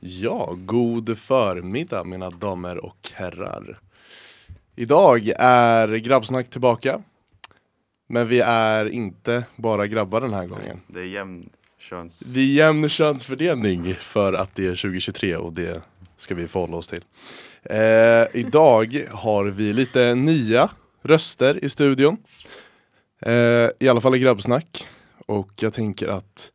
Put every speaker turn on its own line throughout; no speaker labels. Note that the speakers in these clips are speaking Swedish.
Ja, god förmiddag mina damer och herrar. Idag är Grabbsnack tillbaka. Men vi är inte bara grabbar den här gången.
Det är jämn köns...
Det är jämn könsfördelning för att det är 2023 och det ska vi förhålla oss till. Eh, idag har vi lite nya röster i studion. Eh, I alla fall i Grabbsnack. Och jag tänker att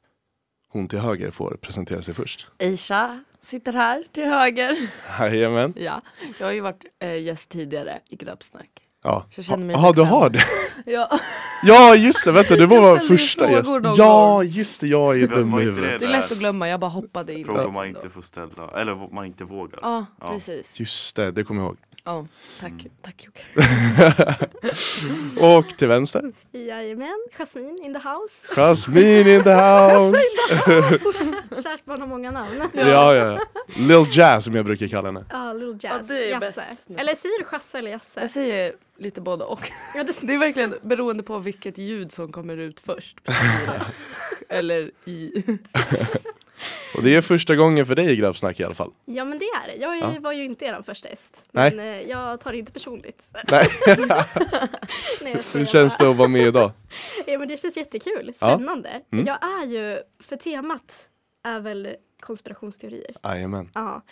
hon till höger får presentera sig först.
Aisha sitter här till höger.
Jajamän.
Ja, jag har ju varit eh, gäst tidigare i Grabbsnack.
Ja,
Så jag känner mig
ja du
bekväm.
har det.
Ja,
Ja just det, vänta du var
Jag
vår
ställde ju
första
frågor
gäst.
någon
Ja just det, jag är
Vem
dum
var
i
inte
huvudet.
det är lätt att glömma, jag bara hoppade in.
Frågor man inte får ställa, eller man inte vågar.
Ja, precis.
Just det, det kommer jag ihåg.
Ja, tack, tack Jocke.
Och till vänster,
Jajamän, Jasmine in the house.
Jasmine in the house.
Kärt barn har många namn. Ja,
Ja, ja, ja. Lil Jazz som jag brukar kalla henne.
Little Jazz.
Ja, det är
Jasse.
bäst.
Eller säger du Jasse eller
Jag
Jasse?
säger lite både och.
Ja, det,
Det är verkligen beroende på vilket ljud som kommer ut först. så blir det. Eller i.
Och det är första gången för dig i Grabbsnack i alla fall.
ja men det är det. Jag är,
Ja.
var ju inte er första gäst.
Nej.
Men eh, jag tar det inte personligt.
Nej.
Nej, jag skojar
Hur känns
bara.
det att vara med idag?
Ja, men det känns jättekul. Spännande. Jag är ju, för temat är väl konspirationsteorier.
Jajamän.
Ja.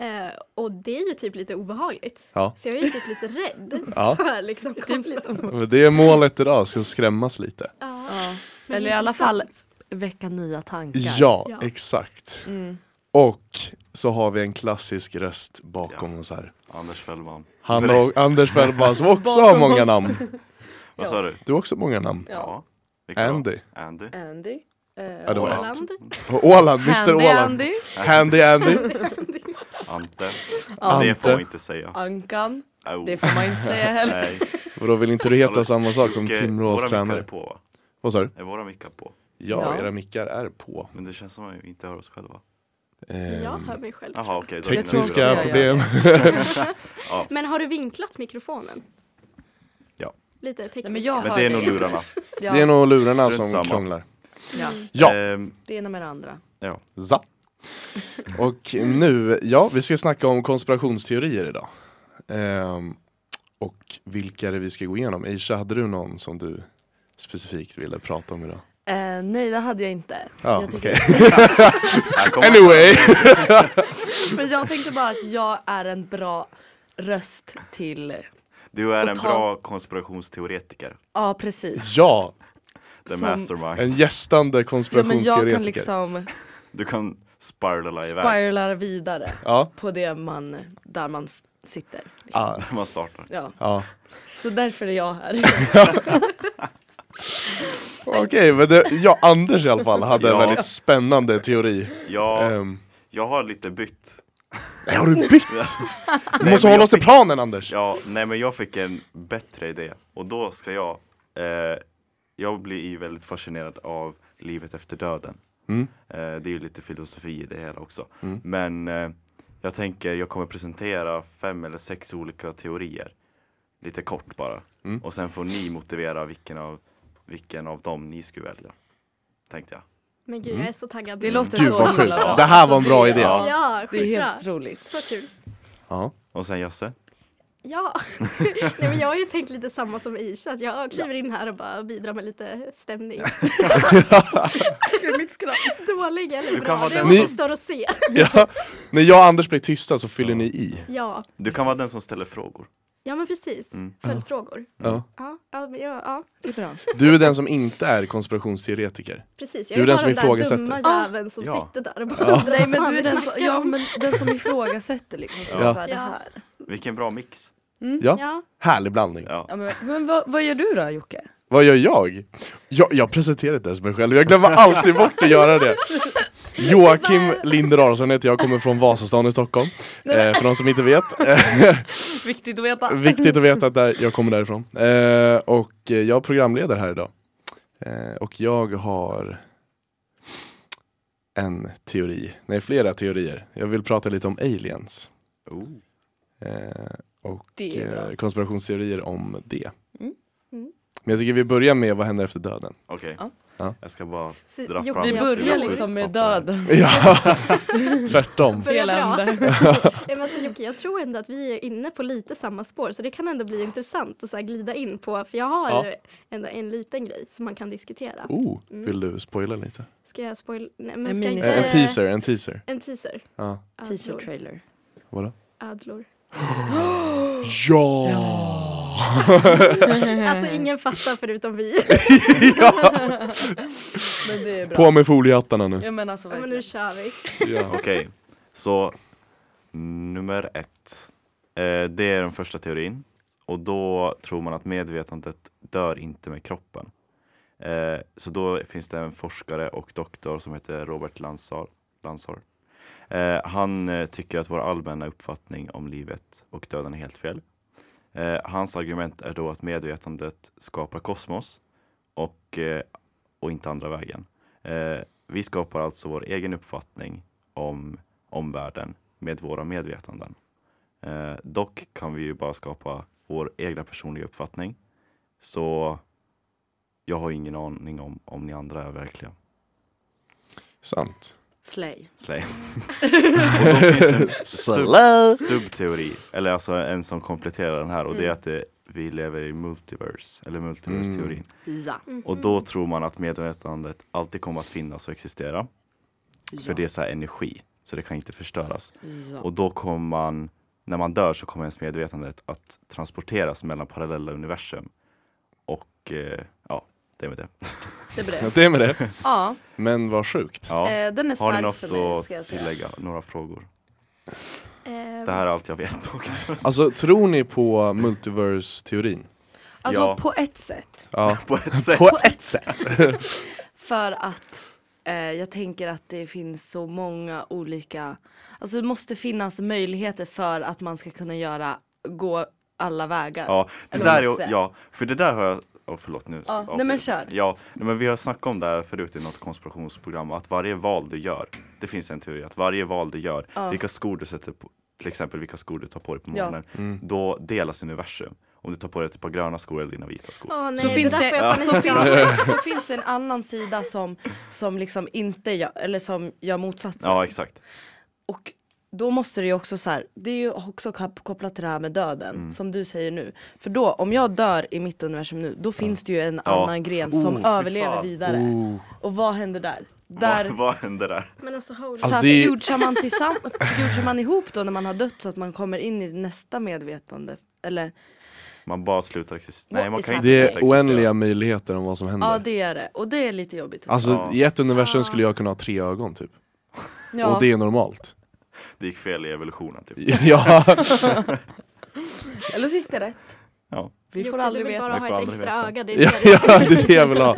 Eh, och det är ju typ lite obehagligt.
Ja.
Så jag är ju typ lite rädd
Ja.
för liksom konspiration.
Men Det är målet idag, ska skrämmas lite.
Ja.
Ja.
Men
Eller i
det är
alla fall
intressant.
väcka nya tankar.
Ja,
Ja.
exakt.
Mm.
Och så har vi en klassisk röst bakom oss här.
Anders Fällman.
Han och Anders Fällman som också har
Bakom
många
oss.
namn.
Vad sa du?
Du har också många namn.
Ja. Vilka då?
Andy.
Andy.
Andy. eh,
Ja, det var jag.
Åland.
Och Åland, Mr
Handy
Åland.
Andy.
Handy Andy.
Ante.
Ante.
Det får man inte säga.
Ankan.
Au.
Det får man inte säga heller.
Nej.
Och då vill inte du heta samma sak som
Okej,
Timrås
Våra mickar är
tränare?
på va?
Vad sa du?
Är våra mickar på?
Ja,
Ja.
era mickar är på.
Men det känns som att vi inte hör oss själva.
Ehm,
Jag hör mig själv.
Jaha okej. då
Jag tror också
Tekniska
jag
problem.
Men har du vinklat mikrofonen?
Ja.
Lite tekniskt.
Nej, men jag
Men
hör
det är nog lurarna.
Ja,
Det är nog lurarna
Strunt
som
samma. Eh.
krånglar.
ja,
Mm.
Ja,
Ehm,
det ena med det andra.
ja.
za. Och nu, ja, vi ska snacka om konspirationsteorier idag. Ehm, och vilka är det vi ska gå igenom? Aisha, hade du någon som du specifikt ville prata om idag?
Eh, nej, det hade jag inte.
Ja,
jag tycker-
okej.
Här kommer-
Anyway!
Men jag tänkte bara att jag är en bra röst till...
Du är
Och
en
ta-
bra konspirationsteoretiker.
Ja, precis.
Ja,
The
Som-
mastermind.
en gästande
Ja, men jag kan
konspirationsteoretiker.
liksom
Du kan spirala iväg.
spirala vidare
Ja,
på det man, där man s- sitter.
ah,
När man startar.
Ja,
ja.
så därför är jag här.
Okej, men det, ja, Anders i alla fall hade en
Ja.
väldigt spännande teori.
Ja,
Ehm,
jag har lite bytt.
nej, har du bytt? Du
men
måste hålla
jag
oss till
fick-
planen Anders!
Ja, nej men jag fick en bättre idé och då ska jag, eh, jag blir ju väldigt fascinerad av livet efter döden.
Mm.
Eh, det är ju lite filosofi i det hela också. Men eh, jag tänker jag kommer presentera fem eller sex olika teorier. Lite kort bara.
Mm.
Och sen får ni motivera vilken av, vilken av dem ni skulle välja. Tänkte jag.
Men gud, jag är så taggad.
Det låter
Gud
så
vad
himla
sjukt,
bra.
det här var en bra idé!
Ja.
Ja,
Det är
skitbra.
helt otroligt.
Så kul.
Ja.
Och sen Jasse?
Ja, Nej, men jag har ju tänkt lite samma som Isha, att jag kliver in här och bara bidrar med lite stämning.
Mitt skratt.
Dålig eller
Du kan
bra,
vara
det
den
som-
återstår att se.
Ja. När jag och Anders blir tysta så fyller ni i.
Ja,
Du kan vara den som ställer frågor.
ja men precis.
Mm.
Följdfrågor.
Ja.
Ja, ja, men jag- ja,
Det är bra.
Du är den som inte är konspirationsteoretiker.
precis.
Du
Jag
är
är
den
bara
som
den där
ifrågasätter.
dumma
Ah,
jäveln som
ja.
sitter där och bara undrar
Nej men
vad
du är den
fan
som,
vi snackar
ja,
om.
men den som ifrågasätter liksom. Så
Ja.
Så här, det
Ja.
här.
Vilken bra mix.
Mm.
Ja,
Ja,
härlig blandning.
Ja.
Ja, men men vad, vad gör du då Jocke?
Vad gör jag? jag? Jag presenterar inte ens mig själv, jag glömmer alltid bort att göra det. Joakim Linderarsson heter jag, kommer från Vasastan i Stockholm. Eh, för de som inte vet. eh,
Viktigt att veta.
Viktigt att veta att där, jag kommer därifrån. Eh, och eh, jag är programledare här idag. Eh, och jag har en teori, nej flera teorier. Jag vill prata lite om aliens.
Oh.
Eh, och
Det är bra.
eh, konspirationsteorier om det.
Mm.
Mm.
Men jag tycker vi börjar med vad händer efter döden.
Okej,
Ja.
Ja.
Jag ska bara
För-
dra
jo,
fram
vi
Vi
ett
börjar
filosofiskt
liksom med
papper.
döden.
Ja, tvärtom.
Börjar
Fel
bra.
ände.
Nej, men alltså, Jocke, jag tror ändå att vi är inne på lite samma spår så det kan ändå bli intressant att så här glida in på för jag har
Ja.
ju ändå en liten grej som man kan diskutera. Mm.
Oh, vill du spoila lite?
Ska jag spoil? Nej, men
En
ska jag
mini-
Eh,
inte...
En teaser, en teaser.
En teaser.
Ja,
Teaser
Adlor.
trailer.
vadå?
Adlor.
Ja!
Alltså ingen fattar förutom vi.
Men det är bra.
På med foliehattarna nu.
Ja men alltså
Ja, men
verkligen.
nu kör vi.
Ja.
Okej, så nummer ett. Eh, det är den första teorin. Och då tror man att medvetandet dör inte med kroppen. Eh, så då finns det en forskare och doktor som heter Robert Lansar. Lansar. Eh, han eh, tycker att vår allmänna uppfattning om livet och döden är helt fel. Eh, hans argument är då att medvetandet skapar kosmos och, eh, och inte andra vägen. Eh, vi skapar alltså vår egen uppfattning om omvärlden med våra medvetanden. Eh, dock kan vi ju bara skapa vår egna personliga uppfattning. Så jag har ingen aning om, om ni andra är verkliga.
Sant.
Slay.
Slay. Och då finns det en sub-
Slay.
subteori, eller alltså en som kompletterar den här och det är att det, vi lever i multiverse, eller multiverse-teorin.
Ja.
Mm.
Och då tror man att medvetandet alltid kommer att finnas och existera. För
Ja.
det är så här energi, så det kan inte förstöras.
ja.
Och då kommer man, när man dör så kommer ens medvetandet att transporteras mellan parallella universum. Och eh, ja, det är med det.
Det blir
Ja,
det.
Det är med det.
Ja.
Men vad sjukt.
Ja.
Eh, den är
Har ni
stark för mig
något
ska jag
att
säga.
tillägga? Några frågor?
Ehm,
Det här är allt jag vet också.
Alltså, tror ni på multiverse-teorin?
Alltså
Ja.
på ett sätt.
Ja.
På ett sätt.
På ett sätt!
För att eh, jag tänker att det finns så många olika, alltså det måste finnas möjligheter för att man ska kunna göra, gå alla vägar.
Ja, det
Eller
där
vad man
är, ja, för det där har jag Åh förlåt nu.
Ja,
avbryter
nej, men
jag.
kör.
Ja, nej, men vi har snackat om det här förut i något konspirationsprogram att varje val du gör, det finns en teori att varje val du gör,
Ja.
vilka skor du sätter på, till exempel vilka skor du tar på dig på
Ja.
morgonen,
Mm.
då delas universum. Om du tar på dig ett par gröna skor eller dina vita skor.
Åh nej,
Så finns,
det där får jag
det,
panik
så,
av.
finns det, så finns det en annan sida som, som liksom inte gör, eller som gör motsatsen.
Ja, exakt.
Och då måste det ju också så här, det är ju också kap- kopplat till det här med döden
Mm.
som du säger nu. För då, om jag dör i mitt universum nu, då finns det ju en
Ja.
annan gren
Oh,
som
fy
överlever
fan. Oh.
vidare.
Oh.
Och vad händer där? Där
Vad, vad händer där?
Men alltså holy
Alltså,
så här,
det är-
fjutchar man, tillsamm- fjutchar man ihop då när man har dött så att man kommer in i nästa medvetande? Eller?
Man bara slutar existera. Nej,
What
man
is
kan inte
Det
sluta
är
existera.
oändliga möjligheter om vad som
Ja
händer.
det är det, och det är lite jobbigt.
Alltså,
Ja.
i ett universum skulle jag kunna ha tre ögon typ.
ja.
Och det är normalt.
Det gick fel i evolutionen typ.
Ja,
Eller så gick det rätt.
Ja.
Vi får
Jocke,
aldrig
du vill
veta.
bara
Vi får
ha ett
aldrig
extra
veta.
öga. Det är
ja,
det.
ja, det är det jag vill ha.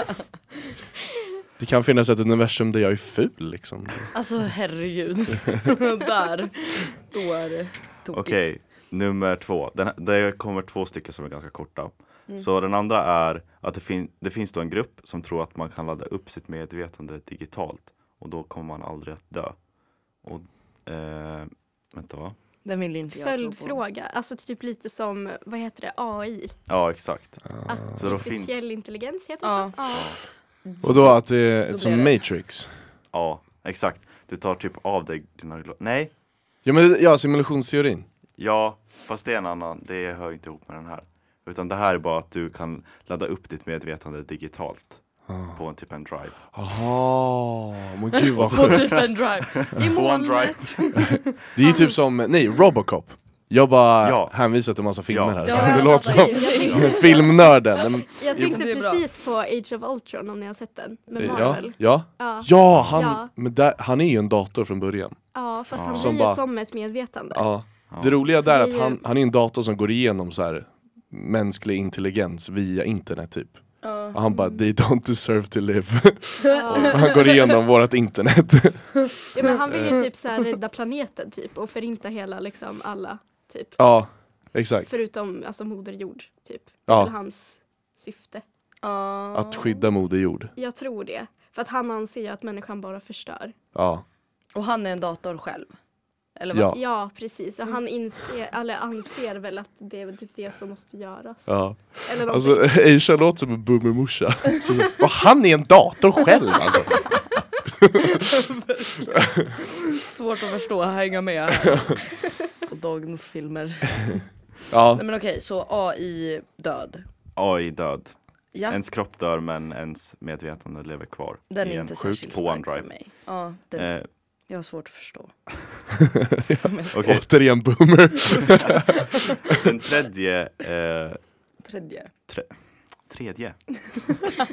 Det kan finnas ett universum där jag är ful liksom.
Alltså herregud. där. Då är det tokigt.
Okej, nummer två. Den, det kommer två stycken som är ganska korta. Så den andra är att det, fin, det finns då en grupp som tror att man kan ladda upp sitt medvetande digitalt och då kommer man aldrig att dö. Och, eh, vänta va?
Den vill inte jag tro på.
Följdfråga, alltså typ lite som, vad heter det, AI?
Ja, exakt. Så då finns,
Artificiell intelligens heter det
Ja.
så? Ja.
Och då att det är
Då
som
blir det.
Matrix.
ja, exakt. Du tar typ av dig dina glas. Nej,
Ja, men ja, simulationsteorin.
Ja, fast det är en annan. Det hör inte ihop med den här. Utan det här är bara att du kan ladda upp ditt medvetande digitalt på en typ en drive.
Jaha, men gud vad
På
sjukt.
typ en drive. I
På en
molnet.
drive.
Det är ju typ som, nej, Robocop. Jag bara
Ja.
hänvisar till massa filmer
Ja.
här,
Ja,
så det
alltså,
låter
Jag
som
tänkte-
filmnörden. Nej, men-
Jag
Det
tänkte
är bra.
precis på Age of Ultron om ni har sett den med
Ja,
Marvel.
eh, ja.
Ja.
ja, han,
Ja.
Men där, han är ju en dator från början.
Ja, fast han
Som
blir ju
bara-
som ett medvetande.
Ja. Det roliga
Så
där är
det
att
är ju-
han, han är en dator som går igenom så här mänsklig intelligens via internet typ. Och han bara, they don't deserve to live.
Mm. Ja.
han går igenom vårt internet.
Ja, men han vill ju typ så här rädda planeten typ och förinta hela liksom alla typ.
ja, exakt.
Förutom alltså moder jord typ.
Ja.
Eller hans syfte.
Ja.
Att skydda moder jord.
Jag tror det. För att han anser ju att människan bara förstör.
Ja.
Och han är en dator själv. Eller vad?
Ja.
Ja, precis. Och han inser, eller anser väl att det är väl typ det som måste göras.
Ja.
Eller någonting.
Alltså Aisha låter som en boomermorsa. Så- Och han är en dator själv alltså.
Svårt att förstå, hänga med på dagens filmer.
Ja,
Nej men okej, så AI död.
AI död.
Ja,
Ens kropp dör men ens medvetande lever kvar.
den
I
är
en
inte
sjuk
särskilt stark för
OneDrive.
mig. Ja, den,
Eh,
jag har svårt att förstå.
Okej.
återigen boomer.
den tredje, eh,
Tredje.
tredje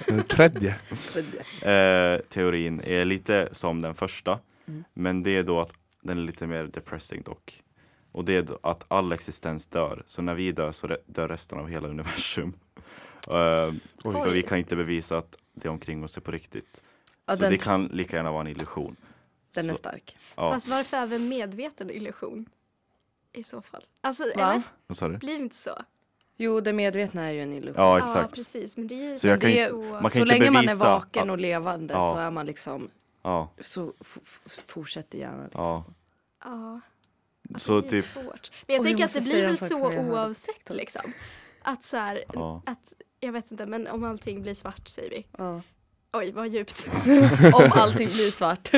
Den Eh, Tredje.
Tredje.
eh, teorin är lite som den första.
Mm.
Men det är då att den är lite mer depressing dock. Och det är då att all existens dör. Så när vi dör så re- dör resten av hela universum. Eh, för vi kan inte bevisa att det omkring oss är på riktigt.
Ja,
så
den,
det kan lika gärna vara en illusion.
den är
så-
stark.
Ja,
Fast varför även medveten illusion? I så fall. Alltså,
Va?
eller?
vad sa du?
Blir det inte så?
Jo, det medvetna är ju en illusion.
Ja,
Ja,
exakt.
precis. Men det är ju
Så jag kan
ju-
så-
man kan
så
inte
länge man är
bevisa
vaken
att-
och levande
Ja.
så är man liksom,
Ja,
så f- f- fortsätter hjärnan. Liksom.
ja.
Ja.
Så
det är
typ,
svårt. Men jag
Oj, jag
tänker att
måste
det blir
säga
väl
en sak
så
som jag hörde.
oavsett liksom. Att så här,
ja.
att, jag vet inte, men om allting blir svart säger vi.
Ja.
Oj, vad djupt.
Om allting blir svart.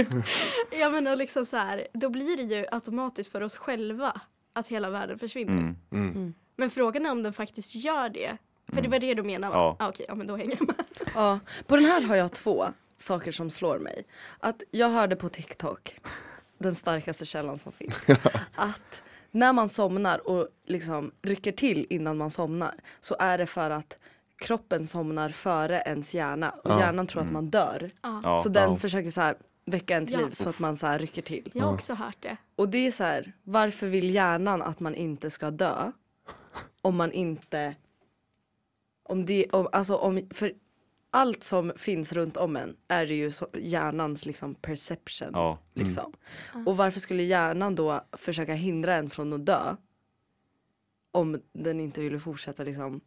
ja men och liksom så här, då blir det ju automatiskt för oss själva att hela världen försvinner.
Mm. Mm.
Men frågan är om den faktiskt gör det. För det var det du menade va?
Ja.
Ah, Okej, ja men då hänger jag med.
Ja, på den här har jag två saker som slår mig. Att jag hörde på TikTok, den starkaste källan som finns, att när man somnar och liksom rycker till innan man somnar så är det för att kroppen somnar före ens hjärna och hjärnan tror att man dör.
Ja.
Så den försöker så här väcka en till
Ja.
liv så att man så här rycker till.
Jag har också hört det.
Och det är så här, varför vill hjärnan att man inte ska dö? Om man inte... Om det, om, alltså om, för allt som finns runt om en är det ju så, hjärnans liksom perception.
Ja.
Liksom.
Ah.
Och varför skulle hjärnan då försöka hindra en från att dö? Om den inte ville fortsätta liksom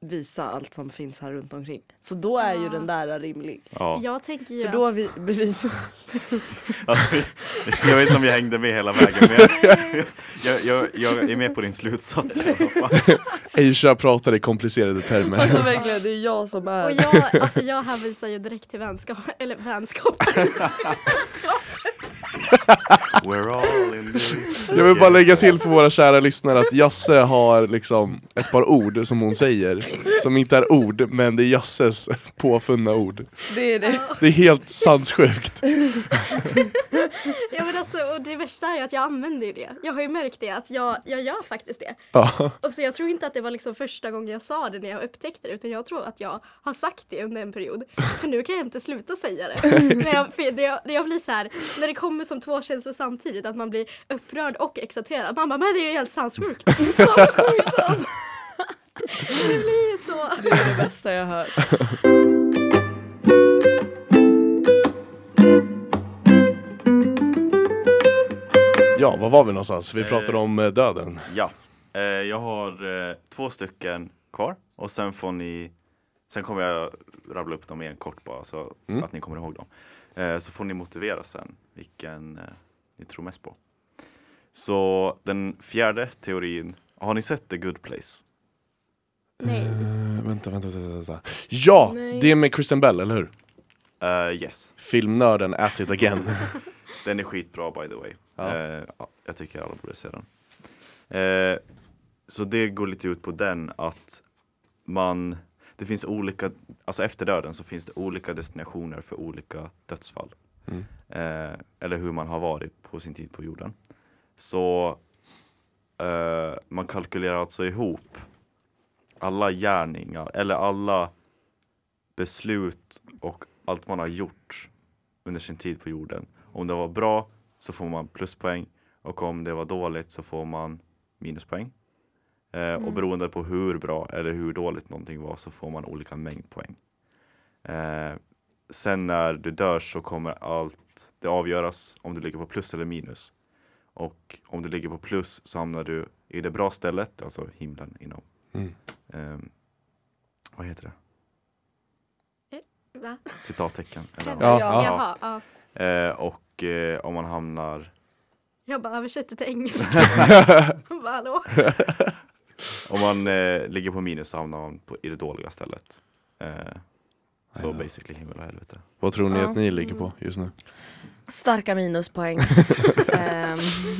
visa allt som finns här runt omkring. Så då är ju
Ja.
den där rimlig.
Ja.
Jag tänker ju
För då vi, bevis,
Alltså, jag vet inte om jag hängde med hela vägen men jag, jag, jag, jag är med på din slutsats i alla fall.
Aisha pratar i komplicerade termer.
alltså verkligen det är jag som är.
Och jag, alltså jag hänvisar ju direkt till vänskap, eller vänskap.
We're all in this
Jag vill bara lägga till för våra kära lyssnare att Jasse har liksom ett par ord som hon säger Som inte är ord, men det är Jasses påfunna ord
Det är det.
Det är helt sanssjukt
ja, men alltså, och det värsta är ju att jag använder ju det. Jag har ju märkt det, att jag, jag gör faktiskt det.
ja.
Och så jag tror inte att det var liksom första gången jag sa det när jag upptäckte det utan jag tror att jag har sagt det under en period. För nu kan jag inte sluta säga det. när jag, för när jag, när jag blir så här, när det kommer som två känslor samtidigt att man blir upprörd och exalterad. Man bara, men det är ju helt sanssjukt. Sanssjukt alltså. Det blir så.
Det är
Ah.
det bästa jag hört.
ja, var var vi någonstans? Vi pratade om eh, döden
Ja, eh, jag har eh, två stycken kvar och sen får ni Sen kommer jag rabbla upp dem igen kort bara så att ni kommer ihåg dem. Eh, så får ni motivera sen vilken eh, ni tror mest på. Så den fjärde teorin, har ni sett The Good Place?
Nej.
Eh, Vänta, vänta, vänta, vänta Ja! Det är med Kristen Bell, eller hur?
Eh, yes.
Filmnörden at it again
Den är skitbra by the way.
Ja.
Eh, ja, jag tycker alla borde se den. Eh, så det går lite ut på den att man, det finns olika, alltså efter döden så finns det olika destinationer för olika dödsfall. Eh, eller hur man har varit på sin tid på jorden. Så eh, man kalkylerar alltså ihop alla gärningar eller alla beslut och allt man har gjort under sin tid på jorden. Om det var bra så får man pluspoäng och om det var dåligt så får man minuspoäng. Eh, Och beroende på hur bra eller hur dåligt någonting var så får man olika mängd poäng. Eh, sen när du dör så kommer allt, det avgöras om du ligger på plus eller minus. Och om du ligger på plus så hamnar du i det bra stället, alltså himlen inom.
Mm.
ehm, vad heter det?
Va?
Citattecken. eller vad?
Ja, ja.
Jaha, ja.
Eh, och eh, om man hamnar
Jag bara översätter till engelska. Hon bara, hallå?
Om man eh, ligger på minus så hamnar man på, i det dåliga stället. Eh, så basically himmel och helvete.
Vad tror ni
Ja.
att ni ligger på just nu?
Starka minuspoäng. Ehm,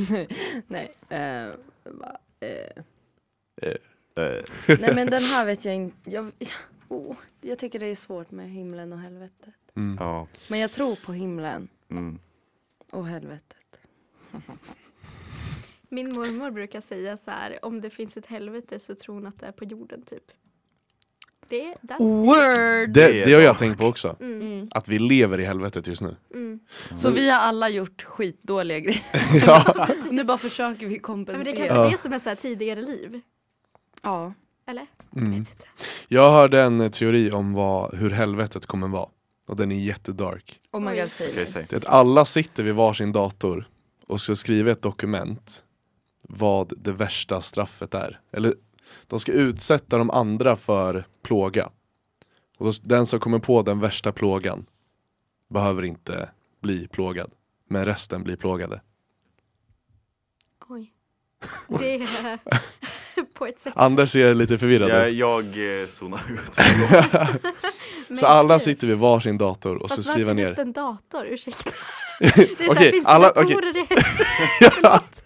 nej, ehm, va, eh,
Eh,
nej men den här vet jag inte. Jag, oh, jag tycker det är svårt med himlen och helvetet.
Mm.
ja,
Men jag tror på himlen
mm.
och helvetet.
Min mormor brukar säga så här, om det finns ett helvete så tror hon att det är på jorden typ. Det, that's
Oh!
Word!
Det, det har jag tänkt på också.
Mm,
Mm.
Att vi lever i helvetet just nu.
mm.
Så vi har alla gjort skitdåliga grejer. nu bara försöker vi
Ja, Men
kompensera.
det är
Ja,
kanske
Ja.
det som är så här tidigare liv. Eller? Jag vet inte.
Mm. Jag hörde en teori om vad, hur helvetet kommer vara. Och den är jättedark.
oh my god,
okej
säg
säg.
Det är att alla sitter vid varsin dator och ska skriva ett dokument vad det värsta straffet är. Eller de ska utsätta de andra för plåga. Och då- den som kommer på den värsta plågan behöver inte bli plågad. Men resten blir plågade.
Oj. Det är på ett sätt.
Anders ser lite förvirrad
Jag,
ut.
jag eh, zonar ut.
Men
Så alla
gud.
sitter vid varsin dator och så
Fast
skriver
varför
ner.
just en dator? Ursäkta. Det är så
Okej,
här, finns det
alla-
datorer i helvetet?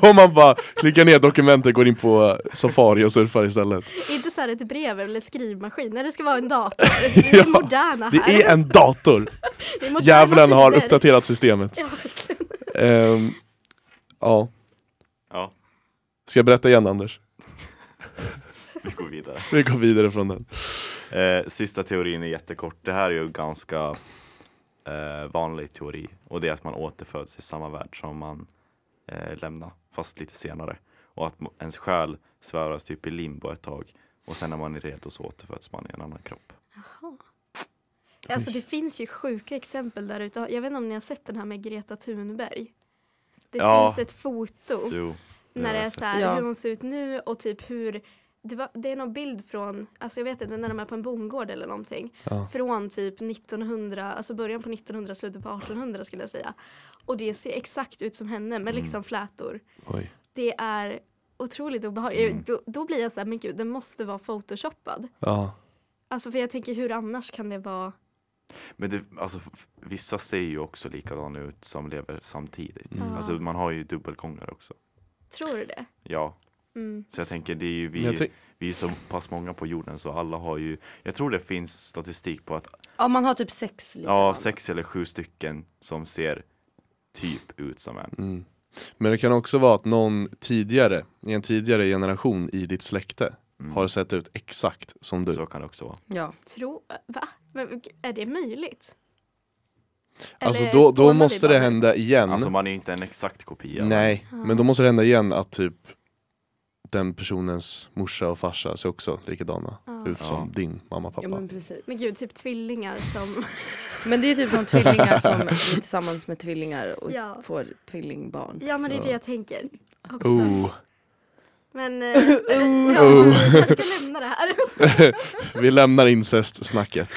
Då man bara klickar ner dokumentet, går in på eh, Safari och surfar istället.
Inte så här ett brev eller skrivmaskin. Nej, det ska vara en dator. Vi är
Ja,
moderna
Det
här.
är en dator!
Det är moderna
Djävulen har
tider.
uppdaterat systemet.
Ja, verkligen.
Ehm, ja,
Ja,
ska jag berätta igen Anders?
vi går vidare.
Vi går vidare från den.
Eh, sista teorin är jättekort. Det här är ju en ganska eh, vanlig teori och det är att man återföds i samma värld som man eh, lämnar, fast lite senare. Och att mo- ens själ sväras typ i limbo ett tag och sen när man är redo så återföds man i en annan kropp.
Alltså det finns ju sjuka exempel där ute. Jag vet inte om ni har sett den här med Greta Thunberg. Det
Ja.
finns ett foto
Jo, det
när
har
det
jag
är
sett.
så här
Ja.
hur hon ser ut nu och typ hur det, var, det är någon bild från, alltså jag vet inte, när de är på en bondgård eller någonting.
Ja.
Från typ 1900, alltså början på 1900, slutet på 1800 skulle jag säga. Och det ser exakt ut som henne
Mm.
med liksom flätor.
Oj.
Det är otroligt obehagligt.
Mm.
Då, då blir jag så här, men gud, den måste vara photoshoppad.
Ja.
Alltså för jag tänker hur annars kan det vara
Men det, alltså, f- f- vissa ser ju också likadana ut som lever samtidigt.
Mm.
Alltså man har ju dubbelgångare också.
Tror du det?
Ja,
Mm.
så jag tänker det är ju
Men jag
vi,
tänk-
vi är så pass många på jorden så alla har ju, jag tror det finns statistik på att
Ja, man har typ sex
Ja,
likadana.
sex eller sju stycken som ser typ ut som en.
mm. Men det kan också vara att någon tidigare, i en tidigare generation i ditt släkte
Mm.
har sett ut exakt som du.
Så kan det också vara.
Ja.
Tro, va? Men, g- är det möjligt?
Alltså
Eller
då,
spånar
då
vi
måste
bara?
det hända igen.
Alltså man är ju inte en exakt kopia.
Nej, men då måste det hända igen att typ den personens morsa och farsa ser också likadana
Ja.
ut som
Ja.
din mamma och pappa.
ja, men precis.
Men gud, typ tvillingar som...
Men det är typ som tvillingar som är tillsammans med tvillingar och
Ja.
får tvillingbarn.
Ja, men det är det jag tänker. Också.
Oh,
Men... Eh, ja, vi kanske
Oh.
ska lämna det här.
vi lämnar incest-snacket.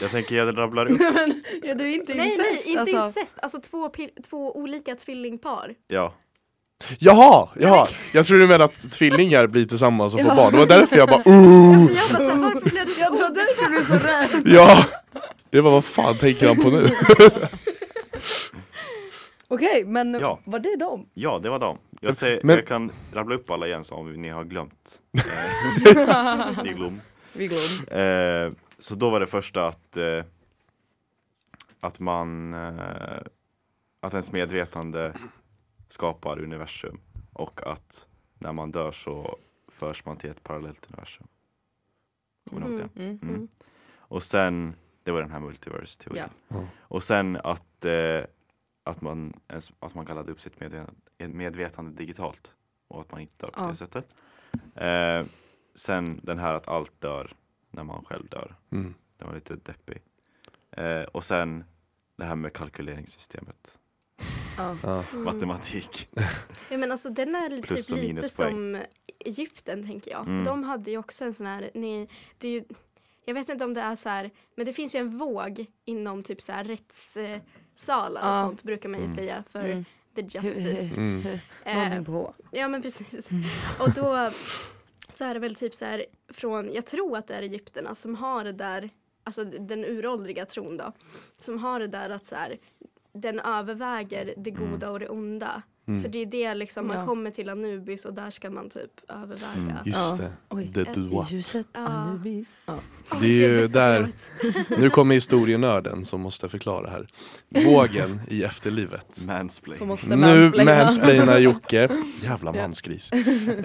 Jag tänker jag rabblar upp.
men, ja, du är inte
nej, nej, inte
alltså.
incest. Alltså två, pil- två olika tvillingpar.
Ja.
Jaha, jaha! Jag tror du menar att tvillingar blir tillsammans och får
Ja.
barn. Det var därför jag bara oh,
För jag bara såhär, varför blev det så?
Ja, det var därför du blev så rädd.
ja! Det var vad fan tänker han på nu?
Okej, men
Ja.
var det dem?
ja, det var dem. Jag, säger,
Men-
jag kan rabbla upp alla igen så om ni har glömt. Eh, ni glöm.
Vi glömde.
Eh, så då var det första att eh, att man eh, att ens medvetande skapar universum och att när man dör så förs man till ett parallellt universum. Kommer ni ihåg det?
Mm.
Mm. Och sen, det var den här multiverse-teorin.
Ja.
Mm.
Ja.
Och sen att, eh, att, man, ens- att man kan ladda upp sitt medvetande, medvetande digitalt och att man inte dör på
Ja.
det sättet. Eh, sen den här att allt dör när man själv dör.
Mm.
Den var lite deppig. Eh, och sen det här med kalkyleringssystemet,
Ja.
Ja.
Mm.
matematik.
Ja, men alltså den är typ
Plus och
lite
minuspoäng.
som Egypten tänker jag.
Mm.
De hade ju också en sån här, ni, det är ju, jag vet inte om det är så här, men det finns ju en våg inom typ så här rätts, eh, rättssalar och
Ja.
sånt brukar man ju säga för
Mm.
the justice.
Mm.
Eh,
Någonting Mm. på H.
Ja men precis. Och då så är det väl typ så här från, jag tror att det är egyptierna som har det där, alltså den uråldriga tron då, som har det där att så här, den överväger det
Mm.
goda och det onda.
mm.
För det är det liksom, man
Ja.
kommer till Anubis och där ska man typ överväga.
Mm.
Just
Ja.
det.
Oj.
Det
Ett
du var.
I huset
Ja.
Anubis. Ja.
Det är ju
bästa
där,
förlåt.
nu kommer historienörden som måste förklara här. Vågen i efterlivet.
Mansplaining.
Som
Nu
måste mansplaina.
mansplainar Jocke. Jävla mansgris.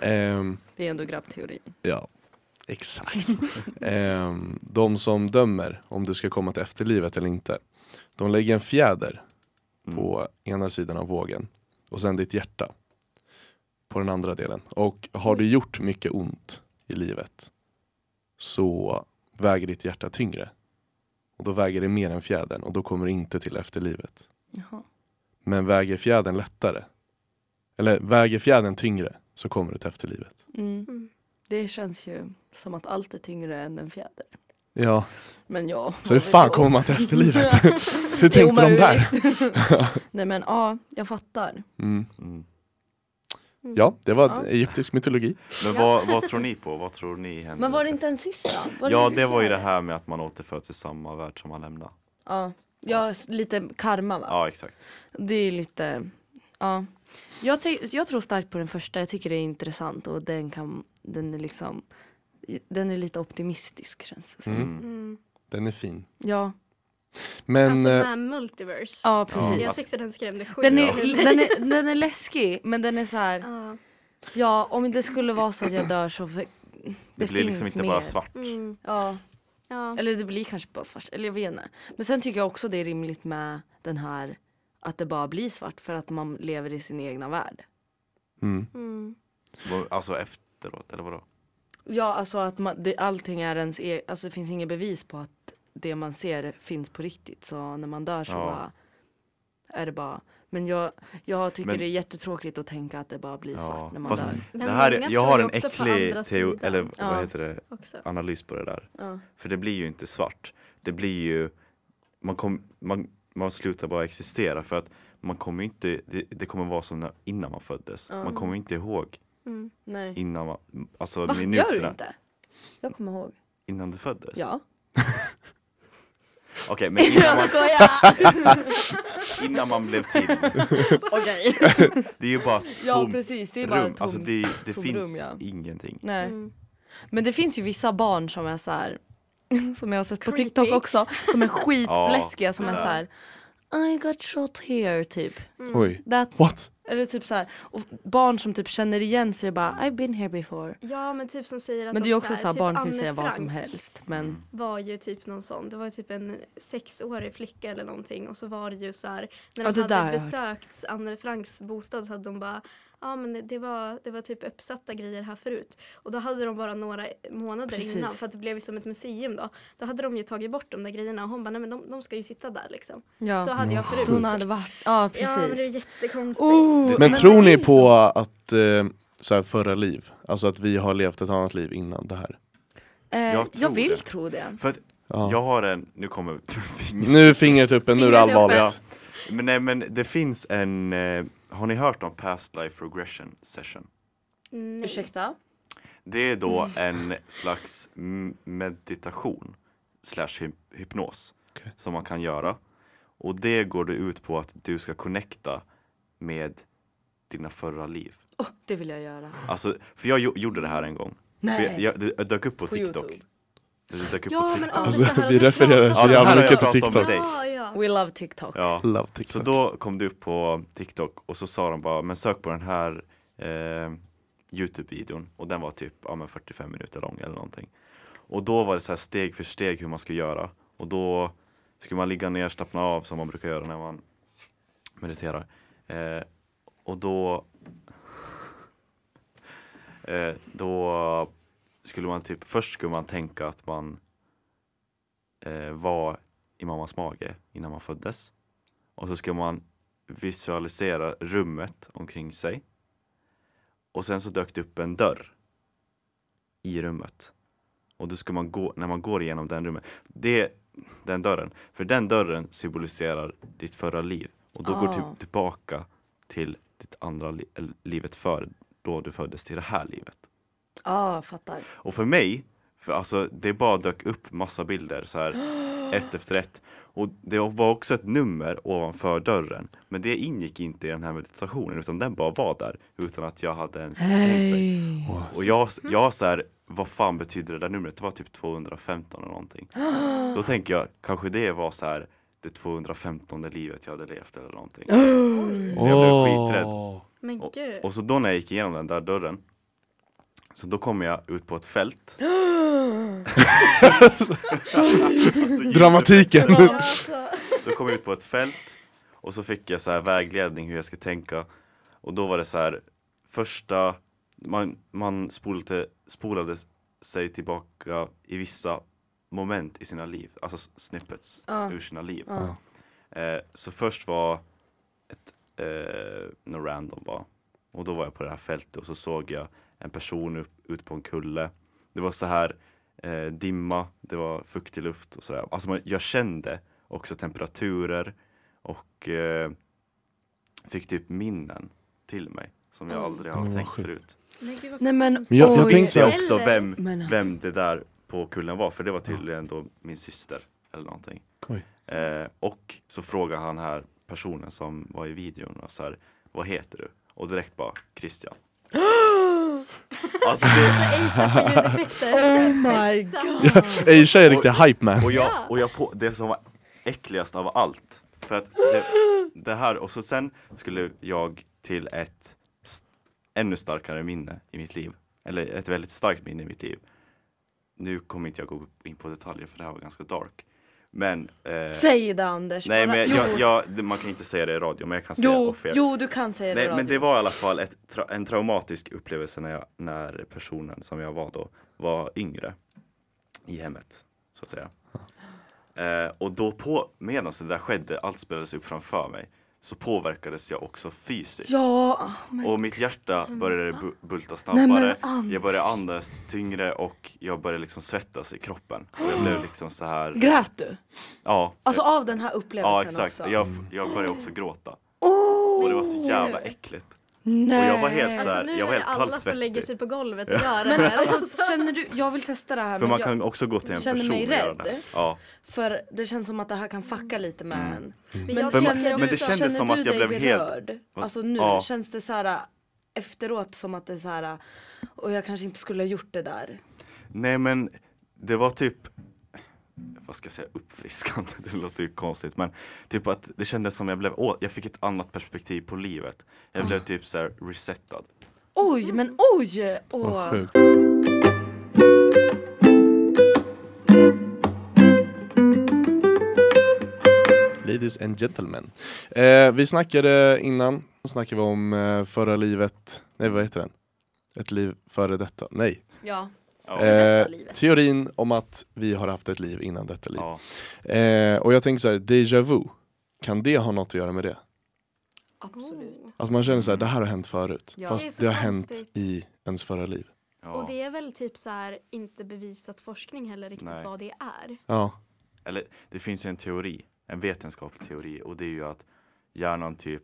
Ehm,
Det är ändå grabbteorin.
ja, exakt. Ehm, de som dömer om du ska komma till efterlivet eller inte. De lägger en fjäder
Mm.
på ena sidan av vågen och sen ditt hjärta på den andra delen. Och har du gjort mycket ont i livet så väger ditt hjärta tyngre. Och då väger det mer än fjädern och då kommer det inte till efterlivet.
Jaha.
Men väger fjädern lättare, eller väger fjädern tyngre så kommer du till efterlivet.
Mm.
Mm.
Det känns ju som att allt är tyngre än en fjäder.
Ja,
Men ja.
så hur fan kommer man till efterlivet? hur
Det är
tänkte de där?
omöjligt. Nej men ja, jag fattar.
Mm.
Mm.
Ja, det var
Ja.
egyptisk mytologi.
Men vad, vad tror ni på? Vad tror ni händer?
Men var det inte en sista?
Ja det var ju det här med att man återföds i samma värld som man lämnade.
Ja, ja s- lite karma va?
Ja exakt.
Det är ju lite, ja. Jag, ty- jag tror starkt på den första, jag tycker det är intressant och den kan, den är liksom, den är lite optimistisk känns det som.
Mm.
Mm.
Den är fin.
Ja,
Men
alltså den
eh,
här multiverse.
ja precis.
Jag tyckte den skrämde sjukt
Den är,
ur mig.
den, är, den är läskig men den är så här,
Ja.
ja om det skulle vara så att jag dör så för, det,
Det, blir
finns
liksom inte
mer.
bara svart.
Mm.
Ja,
Ja.
eller det blir kanske bara svart, eller jag vet inte. Men sen tycker jag också det är rimligt med den här att det bara blir svart för att man lever i sin egna värld.
mm.
Mm.
Vad- Alltså efteråt eller vadå?
Ja, alltså att man, det, allting är ens e- alltså det finns inget bevis på att det man ser finns på riktigt. Så när man dör så
Ja.
bara är det bara. Men jag, jag tycker
Men-
det är jättetråkigt att tänka att det bara blir svart när man
Fast
dör.
det
Men
här,
många
är- jag har
tror
en
också på andra
äcklig teo,
sidan.
eller
Ja.
vad heter det,
Också.
analys på det där.
Ja.
För det blir ju inte svart. Det blir ju, man, kom, man, man slutar bara existera för att man kommer inte, det, det kommer vara som när, innan man föddes. Man kommer inte ihåg
Mm.
Nej.
innan man, alltså
Va? Gör du
minuterna
inte? Jag kommer ihåg.
innan du föddes.
Ja.
Okej men innan man,
skojar!
innan man blev till.
Okej.
Det är ju bara ett
Ja
tomt
precis, det är bara
rum.
tom.
Alltså det, det
tom
finns
rum, ja.
ingenting.
Nej.
Mm.
Men det finns ju vissa barn som är så här som jag har sett på
Creepy.
TikTok också, som är skitläskiga som är
Ja.
så här I got shot here typ.
Mm.
Oj,
That
what?
Eller typ så här, och barn som typ känner igen sig och bara I've been here before.
Ja men typ som säger att
Men det
de
är ju också så
såhär,
här,
typ
barn kan ju
Anne
säga vad som
Frank
helst.
Mm.
Men
var ju typ någon sån, det var ju typ en sexårig flicka eller någonting och så var det ju så här när
Ja,
de
det där har jag
hade
hört.
besökt Anne Franks bostad så hade de bara ja men det, det, var, det var typ uppsatta grejer här förut och då hade de bara några månader
Precis.
innan för att det blev ju som ett museum då då hade de ju tagit bort de där grejerna och hon bara nej men de, de ska ju sitta där liksom
ja,
så hade jag förut
hon hade
tyckt.
varit, ja
Ja men det är
precis.
jättekonstigt.
Oh,
Men tror
det
ni
är
på
så.
liksom-
att eh, så här, förra liv, alltså att vi har levt ett annat liv innan det här?
Eh, jag,
Jag tror
vill
det.
tro det.
För att
Ja.
jag har en, nu kommer
Nu är fingret uppe, nu är det
Fingret uppe.
allvarligt.
Ja. Men nej men det finns en, eh, har ni hört om past life regression session?
Nej.
Ursäkta?
Det är då en slags m- meditation slash hyp- hypnos
Okej.
som man kan göra. Och det går det ut på att du ska connecta med dina förra liv.
Åh, Oh, det vill jag göra.
Alltså, för jag gjo- gjorde det här en gång. För
Nej.
jag, jag, det dök upp på,
På
TikTok.
Youtube.
Det dök upp på
Ja men
TikTok.
Alltså,
Anders, det här
vi
har
refererar
pratat
så
om.
det här har
jävla
jag
mycket på
pratat om
TikTok.
dig.
Ja, ja.
We love TikTok.
Ja.
Love
Så
TikTok.
då kom du upp på TikTok och så sa de bara, men sök på den här eh, Youtube-videon och den var typ ja, men 45 minuter lång eller någonting. Och då var det så här steg för steg hur man skulle göra och då skulle man ligga ner, slappna av som man brukar göra när man mediterar. Eh, och då eh, då skulle man typ, först skulle man tänka att man eh, var i mammas mage innan man föddes. Och så ska man visualisera rummet omkring sig. Och sen så dök det upp en dörr i rummet. Och då ska man gå, när man går igenom den rummet. Det, den dörren. För den dörren symboliserar ditt förra liv. Och då går
Ah.
du tillbaka till ditt andra li- eller livet före då du föddes till det här livet.
Ja, fattar.
Och för mig, för alltså det bara dök upp massa bilder så här ett efter ett. Och det var också ett nummer ovanför dörren. Men det ingick inte i den här meditationen utan den bara var där utan att jag hade ens tänkt mig. Och jag, jag så här, vad fan betyder det där numret? Det var typ 215 eller någonting. Då tänker jag, kanske det var så här det 215 livet jag hade levt eller någonting. Jag blev skiträdd.
Men
Och,
gud.
och så då när jag gick igenom den där dörren Så då kom jag ut på ett fält Alltså, ljudet-
Dramatiken!
Ja, alltså.
Då kom jag ut på ett fält Och så fick jag så här vägledning hur jag ska tänka Och då var det så här Första Man, man spolade, spolade sig tillbaka i vissa moment i sina liv Alltså s- snippets
Ja.
ur sina liv
Ja.
eh, Så först var ett, eh, något random bara. Och då var jag på det här fältet och så såg jag en person upp, ut på en kulle. Det var så här eh, dimma, det var fuktig luft och sådär. Alltså man, jag kände också temperaturer och eh, fick typ minnen till mig som jag aldrig har
Men vad
tänkt
sjukt.
förut.
Men gud vad
Nej men
Men
konstigt.
jag- jag
oj.
tänkte-
Visste jag också
Eller-
vem,
Men-
vem det där på kullen var för det var tydligen då min syster eller någonting.
Oj.
Eh, och så frågar han här personen som var i videon och så här, vad heter du? Och direkt bara Christian. alltså det,
Asia får ljudeffekter.
Oh my god.
Aisha är riktig hype man.
och jag, och jag på, det som var äckligast av allt. För att det, det här, och så sen skulle jag till ett st- ännu starkare minne i mitt liv. Eller ett väldigt starkt minne i mitt liv. Nu kommer inte jag gå in på detaljer för det här var ganska dark. Men, eh,
Säg det Anders.
nej
bara.
men
jo.
jag, jag, det- man kan inte säga det i radio men jag kan säga det
jo,
off air.
jo, du kan säga det
Nej,
i
men
radio.
det var i alla fall ett tra- en traumatisk upplevelse när, jag, när personen som jag var då var yngre i hemmet, så att säga. Eh, och då på, medan det där skedde, allt spelades upp framför mig, så påverkades jag också fysiskt.
Ja, oh my
Och mitt hjärta började bu- bulta
men
snabbare,
Anders.
jag började andas tyngre och jag började liksom svettas i kroppen. Och jag blev liksom så här,
Grät du?
ja.
Alltså av den här upplevelsen
Ja exakt,
också?
jag, f- jag började också gråta.
Åh,
Och det var så
Gud.
jävla äckligt.
nej.
jag var helt så här-
Alltså, nu
jag var
är det
helt
alla som
kallsvettig.
lägger sig på golvet och gör det
Men
här.
alltså känner du, jag vill testa det här
För
men
man
jag,
kan också gå till en
känner
person
mig
och göra
rädd.
det. Ja.
för det känns som att det här kan fucka lite med en. Mm. Men,
jag
För man-
känner
du-
men det
också-
kändes
känner
som
du
att jag
dig
blev helt-
berörd? Alltså nu,
Ja.
känns det så här äh, efteråt som att det är så här äh, och jag kanske inte skulle ha gjort det där.
Nej men det var typ vad ska jag säga uppfriskande, det låter ju konstigt men typ att det kändes som jag blev, åh, jag fick ett annat perspektiv på livet. Jag blev
Ah.
typ såhär resetad.
Oj, men oj! Åh.
Vad sjukt. Ladies and gentlemen. Eh, vi snackade innan, då snackade vi om eh, förra livet, nej vad heter den? Ett liv före detta, nej. Eh,
ja.
Ja.
detta livet.
teorin om att vi har haft ett liv innan detta liv.
Ja.
Eh, och jag tänker så här, déjà vu, kan det ha något att göra med det?
Absolut.
Att man känner så här, det här har hänt förut,
Ja.
Det är
fast
så
det, har hänt
konstigt.
i ens förra liv.
Ja.
Och det är väl typ så här inte bevisat forskning heller riktigt
Nej.
vad det är.
Ja,
Eller det finns ju en teori, en vetenskaplig teori och det är ju att hjärnan typ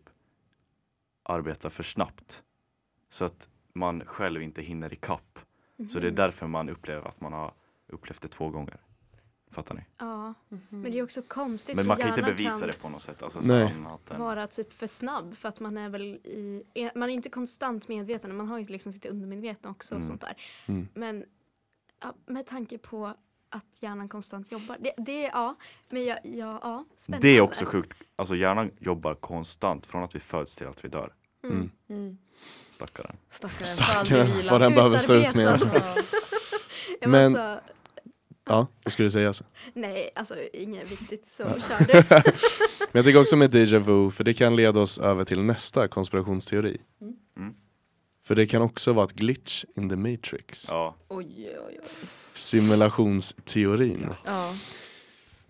arbetar för snabbt. Så att man själv inte hinner ikapp. Så
Mhm.
det är därför man upplever att man har upplevt det två gånger. Fattar ni?
Ja, men det är också
Mhm.
konstigt.
Men
för
man kan inte
hjärnan
bevisa
kan
det på något sätt. Alltså,
Nej.
Nej. Annat än,
vara typ för snabb för att man är väl i, är- man är inte konstant medveten, man har ju liksom sitt undermedvetna också och sånt där.
Mm.
Men ja, med tanke på att hjärnan konstant jobbar, det, det ja, men jag, ja, ja, spännande.
det är också sjukt. Alltså hjärnan jobbar konstant från att vi föds till att vi dör.
Mm.
Mm.
Stackaren.
Stackaren, får
Stackaren
aldrig
vad
vila.
den behöver stå ut med. Alltså.
Ja.
Ja,
Men-
men... alltså,
Ja, vad skulle du säga? Alltså.
nej, alltså inget viktigt så kör du.
Men jag tänker också med déjà vu, för det kan leda oss över till nästa konspirationsteori.
Mm.
För det kan också vara ett glitch in the matrix.
Ja.
Oj, oj, oj.
Simulationsteorin.
Ja.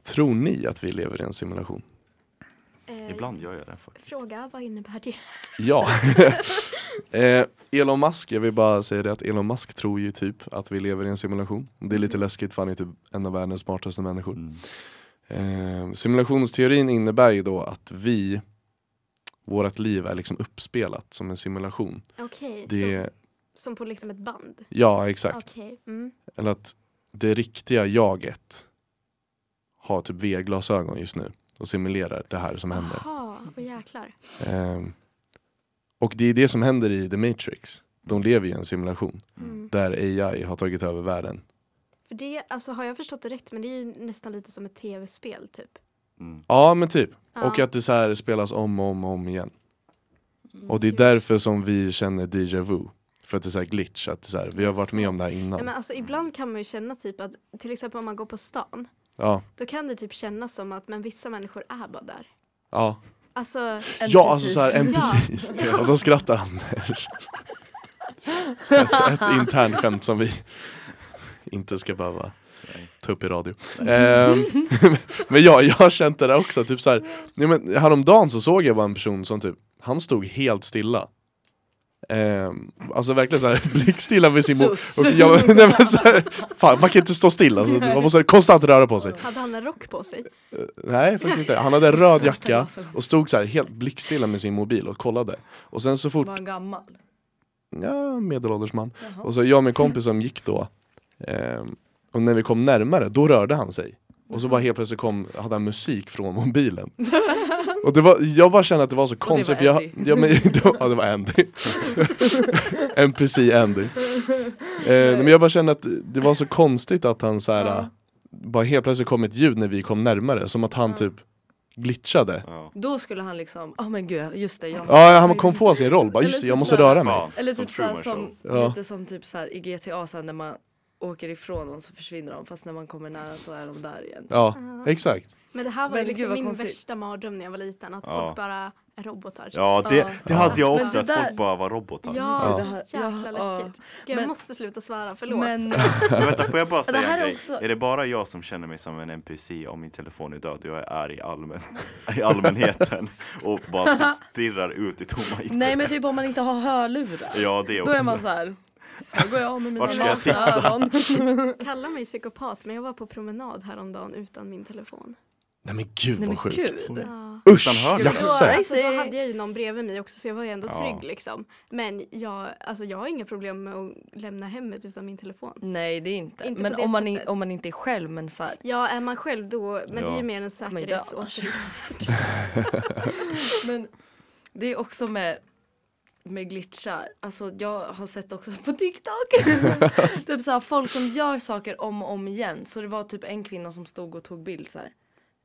Tror ni att vi lever i en simulation?
Eh,
Ibland gör jag det faktiskt.
Fråga, vad innebär det?
Ja. eh, Elon Musk, jag vill bara säga det att Elon Musk tror ju typ att vi lever i en simulation. Det är lite läskigt för han är typ en av världens smartaste människor.
Mm.
Eh, simulationsteorin innebär ju då att vi, vårt liv är liksom uppspelat som en simulation.
Okej,
Det,
som, som på liksom ett band.
ja exakt.
Okej. Mm.
Eller att det riktiga jaget har typ VR-glasögon just nu och simulerar det här som händer.
Jaha, och jäklar.
Ehm, och det är det som händer i The Matrix. De lever i en simulation
Mm.
där AI har tagit över världen.
För det, alltså har jag förstått det rätt, men det är ju nästan lite som ett tv-spel typ.
Mm.
Ja men typ.
Ja.
Och att det så här spelas om och om, och om igen.
Mm.
Och det är därför som vi känner déjà vu. För att det är så här glitch, att det är så här, vi har varit med om det här
Nej, men
innan.
alltså ibland kan man ju känna typ att, till exempel om man går på stan,
Ja,
då kan det typ kännas som att men vissa människor är bara där.
ja.
Alltså,
Ja, alltså så här, en
Ja.
precis. Och då skrattar Anders. ett, ett internskämt som vi inte ska behöva
Nej.
ta upp i radio. Ehm, men ja, jag har känt det där också. Typ så här, nej, men häromdagen så såg jag bara en person som typ, han stod helt stilla. Ehm, alltså verkligen såhär blickstilla vid sin bok.
Sus.
Och jag, nej, men så här, fan, man kan inte stå still alltså, man måste konstant röra på sig.
hade han en rock på sig?
Nej faktiskt inte, han hade en röd jacka
glasögon.
och stod så här helt blickstilla med sin mobil och kollade. Och sen så fort,
Var han gammal?
ja medelålders man.
Jaha.
Och så jag och min kompis som gick då, ehm, och när vi kom närmare då rörde han sig. Och så
Mm.
bara helt plötsligt kom, hade han musik från mobilen. Och det var, jag bara kände att det var så
var
konstigt för jag,
Andy.
ja, men, det var, ja det var Andy. NPC Andy. Eh, nej, men jag bara kände att det var så konstigt att han så här,
Ja.
bara helt plötsligt kom ett ljud när vi kom närmare, som att han
Ja.
typ glitchade.
Ja.
Då skulle han liksom, ja men gud, just det. Jag
Ja, han kom på sin roll, bara
typ
just det, jag måste röra mig.
Fan,
Eller
som
typ såhär
Truman
som,
Show.
Ja.
lite som typ såhär i GTA sen när man åker ifrån dem så försvinner de fast när man kommer nära så är de där igen.
Ja, exakt.
Men det här var
Men
ju
gud,
liksom
vad
min
konstigt.
värsta mardröm när jag var liten, att
Ja.
folk bara är robotar. typ.
Ja, det, det
Ja.
hade jag
Men
också,
det
att
där-
folk bara var robotar.
Ja,
Ja.
så jäkla
Ja, ja.
läskigt. Gud,
Men-
jag måste sluta svära, förlåt.
Men
Men vänta, får jag bara
Det
säga
här
en
är
grej?
också-
Är det bara jag som känner mig som en NPC om min telefon är död och jag är arg i, allmän... i allmänheten och bara så stirrar ut i tomma intet?
nej men typ om man inte har hörlurar.
Ja, det
Då
också.
är man såhär, här går jag av med mina
Vart ska jag
nakna ögon.
Kalla mig psykopat, men jag var på promenad häromdagen utan min telefon.
Nej men gud
Nej men
vad sjukt.
gud.
Ja.
Usch,
Utan hörlurar.
Då,
jasse.
alltså, då hade jag ju någon bredvid mig också så jag var ju ändå
Ja.
trygg liksom. Men jag, alltså, jag har inga problem med att lämna hemmet utan min telefon.
Nej det är inte.
Inte på
men
det
om man, i,
sättet.
om man inte är själv men såhär,
Ja, är man själv då, men det är
Ja.
ju mer en
Kommer jag dö
säkerhetsåtgärd.
men det är också med med glitchar, alltså jag har sett också på TikTok Typ såhär folk som gör saker om och om igen Så det var typ en kvinna som stod och tog bild såhär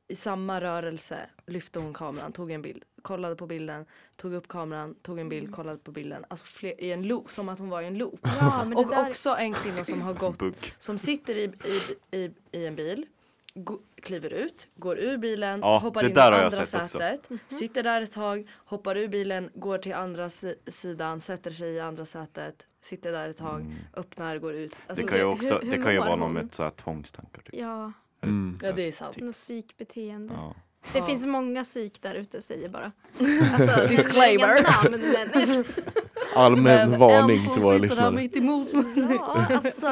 I samma rörelse lyfte hon kameran, tog en bild, kollade på bilden Tog upp kameran, tog en
Mm.
bild, kollade på bilden Alltså fler, i en loop, som att hon var i en loop
Ja, men det
Och
där,
också en kvinna som har gått
Bugg.
som sitter i, i, i, i en bil, gå- kliver ut, går ur bilen,
Ja,
hoppar
det
in i
där har jag
andra
sett också.
sätet,
Mhm.
sitter där ett tag, hoppar ur bilen, går till andra si sidan, sätter sig i andra sätet, sitter där ett tag,
Mm.
Mm.
öppnar, går ut. Alltså,
Det kan ju
hur-
också,
hur
det kan ju
mår
vara någon
hon?
med så här tvångstankar. Typ.
ja,
Mm.
Så
Ja
här,
det är sant.
något psykbeteende.
ja.
Det
Ja.
finns många psyk där ute säger bara. Alltså,
Disclaimer.
inga Namn, men, nej, jag skojar.
Allmän varning
en
till våra
som sitter här
lyssnare.
mitt emot mig
ja, alltså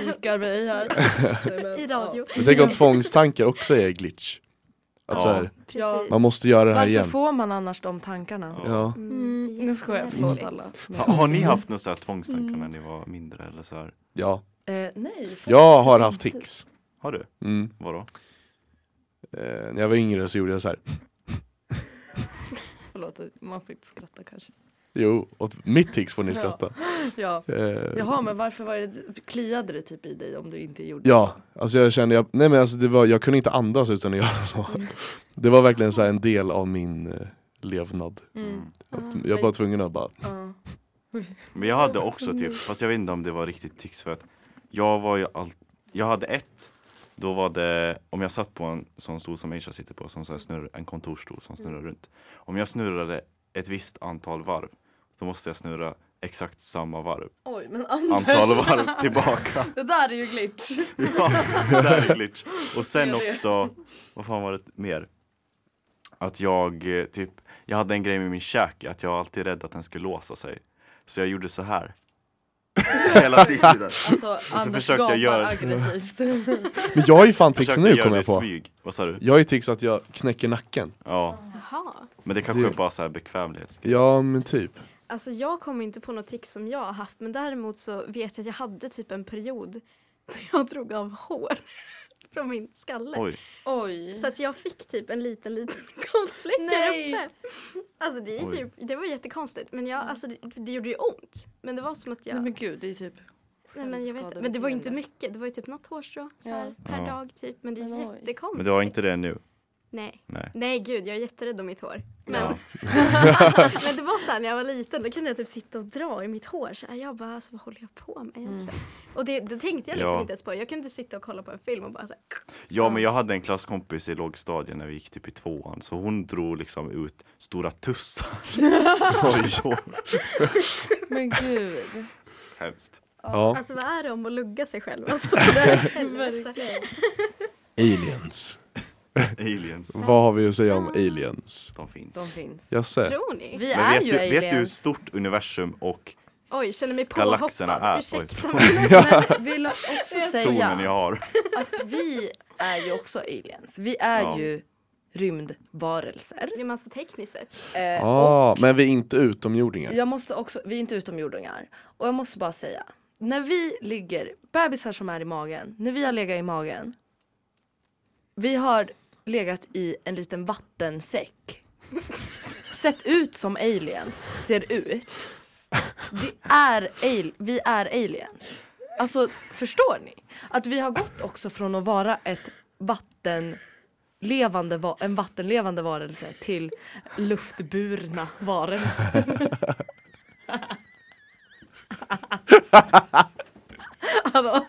pikar mig här. Nej, men,
i radio.
Jag tänker om tvångstankar också är glitch. Att
Ja.
så här,
Ja.
Precis.
man måste göra
Ja.
det här
Varför
igen.
får man annars de tankarna?
Ja.
Mm,
Mm,
det är
nu skojar jag, förlåt
jättemärkligt.
alla.
Ha, har ni haft några så här tvångstankar
Mm.
när ni var mindre eller så här?
ja.
Eh, nej, faktiskt
Jag har
inte.
haft tics.
Har du?
Mm.
Vadå?
Eh, när jag var yngre så gjorde jag så här.
Förlåt, man får inte skratta kanske.
Jo, åt mitt tics får ni
Ja.
skratta.
Ja.
Eh,
Jaha men varför var det, kliade det typ i dig om du inte gjorde
ja, alltså jag kände, jag, nej men alltså det var, jag kunde inte andas utan att göra så.
Mm.
Det var verkligen så här en del av min eh, levnad.
så? Mm.
Att jag var tvungen att bara,
Mm.
Ja.
Men jag hade också typ, fast jag vet inte om det var riktigt tics för att jag var ju allt, jag hade ett, då var det, om jag satt på en sån stol som Aisha sitter på, som så här snurr, en kontorsstol som
Mm.
snurrar runt. Om jag snurrade ett visst antal varv, då måste jag snurra exakt samma varv,
Oj men Anders,
antal varv tillbaka.
det där är ju glitch.
Ja, det där är glitch. Och sen
Jag ser det.
också, vad fan var det mer? Att jag eh, typ, jag hade en grej med min käke, att jag var alltid rädd att den skulle låsa sig. Så jag gjorde så här. hela tiden.
Alltså Anders
försökte jag
gapar
göra-
aggressivt.
Men jag är ju fan tics
Försökte
nu
göra
kommer
det
jag
i
på.
smyg. Vad sa du?
Jag är tics att jag knäcker nacken.
Ja,
Jaha.
men det kanske
Det-
bara så här bekvämlighet.
Ja men typ.
Alltså jag kommer inte på något tics som jag har haft men däremot så vet jag att jag hade typ en period där jag drog av hår från min skalle.
Oj,
Oj.
Så att jag fick typ en liten liten kolfläck
Nej. Mm.
där uppe. Alltså det, är
Oj.
typ, det var jättekonstigt men jag, alltså det, det gjorde ju ont. Men det var som att jag,
Nej men gud det är typ
nej, men, jag vet, inte. men det var ju inte mycket, det var ju typ något hårstrå så här, per
Ja.
dag typ. Men det är
Men oj.
jättekonstigt.
men du har inte det nu?
Nej.
Nej.
Nej gud, jag är jätterädd om mitt hår. Men,
Ja.
men det var så här när jag var liten, då kunde jag typ sitta och dra i mitt hår så här. Jag bara, alltså, vad håller jag på med egentligen? Och det, då tänkte jag liksom
Ja.
inte ens på det. Jag kunde sitta och kolla på en film och bara så här,
Ja, men jag hade en klasskompis i lågstadiet när vi gick typ i tvåan, så hon drog liksom ut stora tussar. Oj, oj.
Men gud.
Hemskt.
Ja.
alltså vad är det om att lugga sig själv? Alltså, det
Aliens.
Aliens,
Vad har vi att säga om aliens?
de finns.
De finns.
Jag ser.
Tror ni?
Vi
Men
är
vet
ju
du,
aliens.
vet du hur stort universum och
Oj, känner mig
Galaxerna är-
påhoppad.
oj.
Ursäkta alltså, mig.
Men vill jag också
tonen jag
säga
har?
att vi är ju också aliens. Vi är
Ja.
ju rymdvarelser.
Ja, men alltså tekniskt sett.
Eh,
Ah, men vi är inte utomjordingar.
Jag måste också, vi är inte utomjordingar. Och jag måste bara säga, när vi ligger, bebisar som är i magen, när vi har legat i magen. Vi har legat i en liten vattensäck. Sett ut som aliens, ser ut. Det är al- vi är aliens. Alltså förstår ni? Att vi har gått också från att vara ett vatten levande va- en vattenlevande varelse till luftburna varelser. Hallå?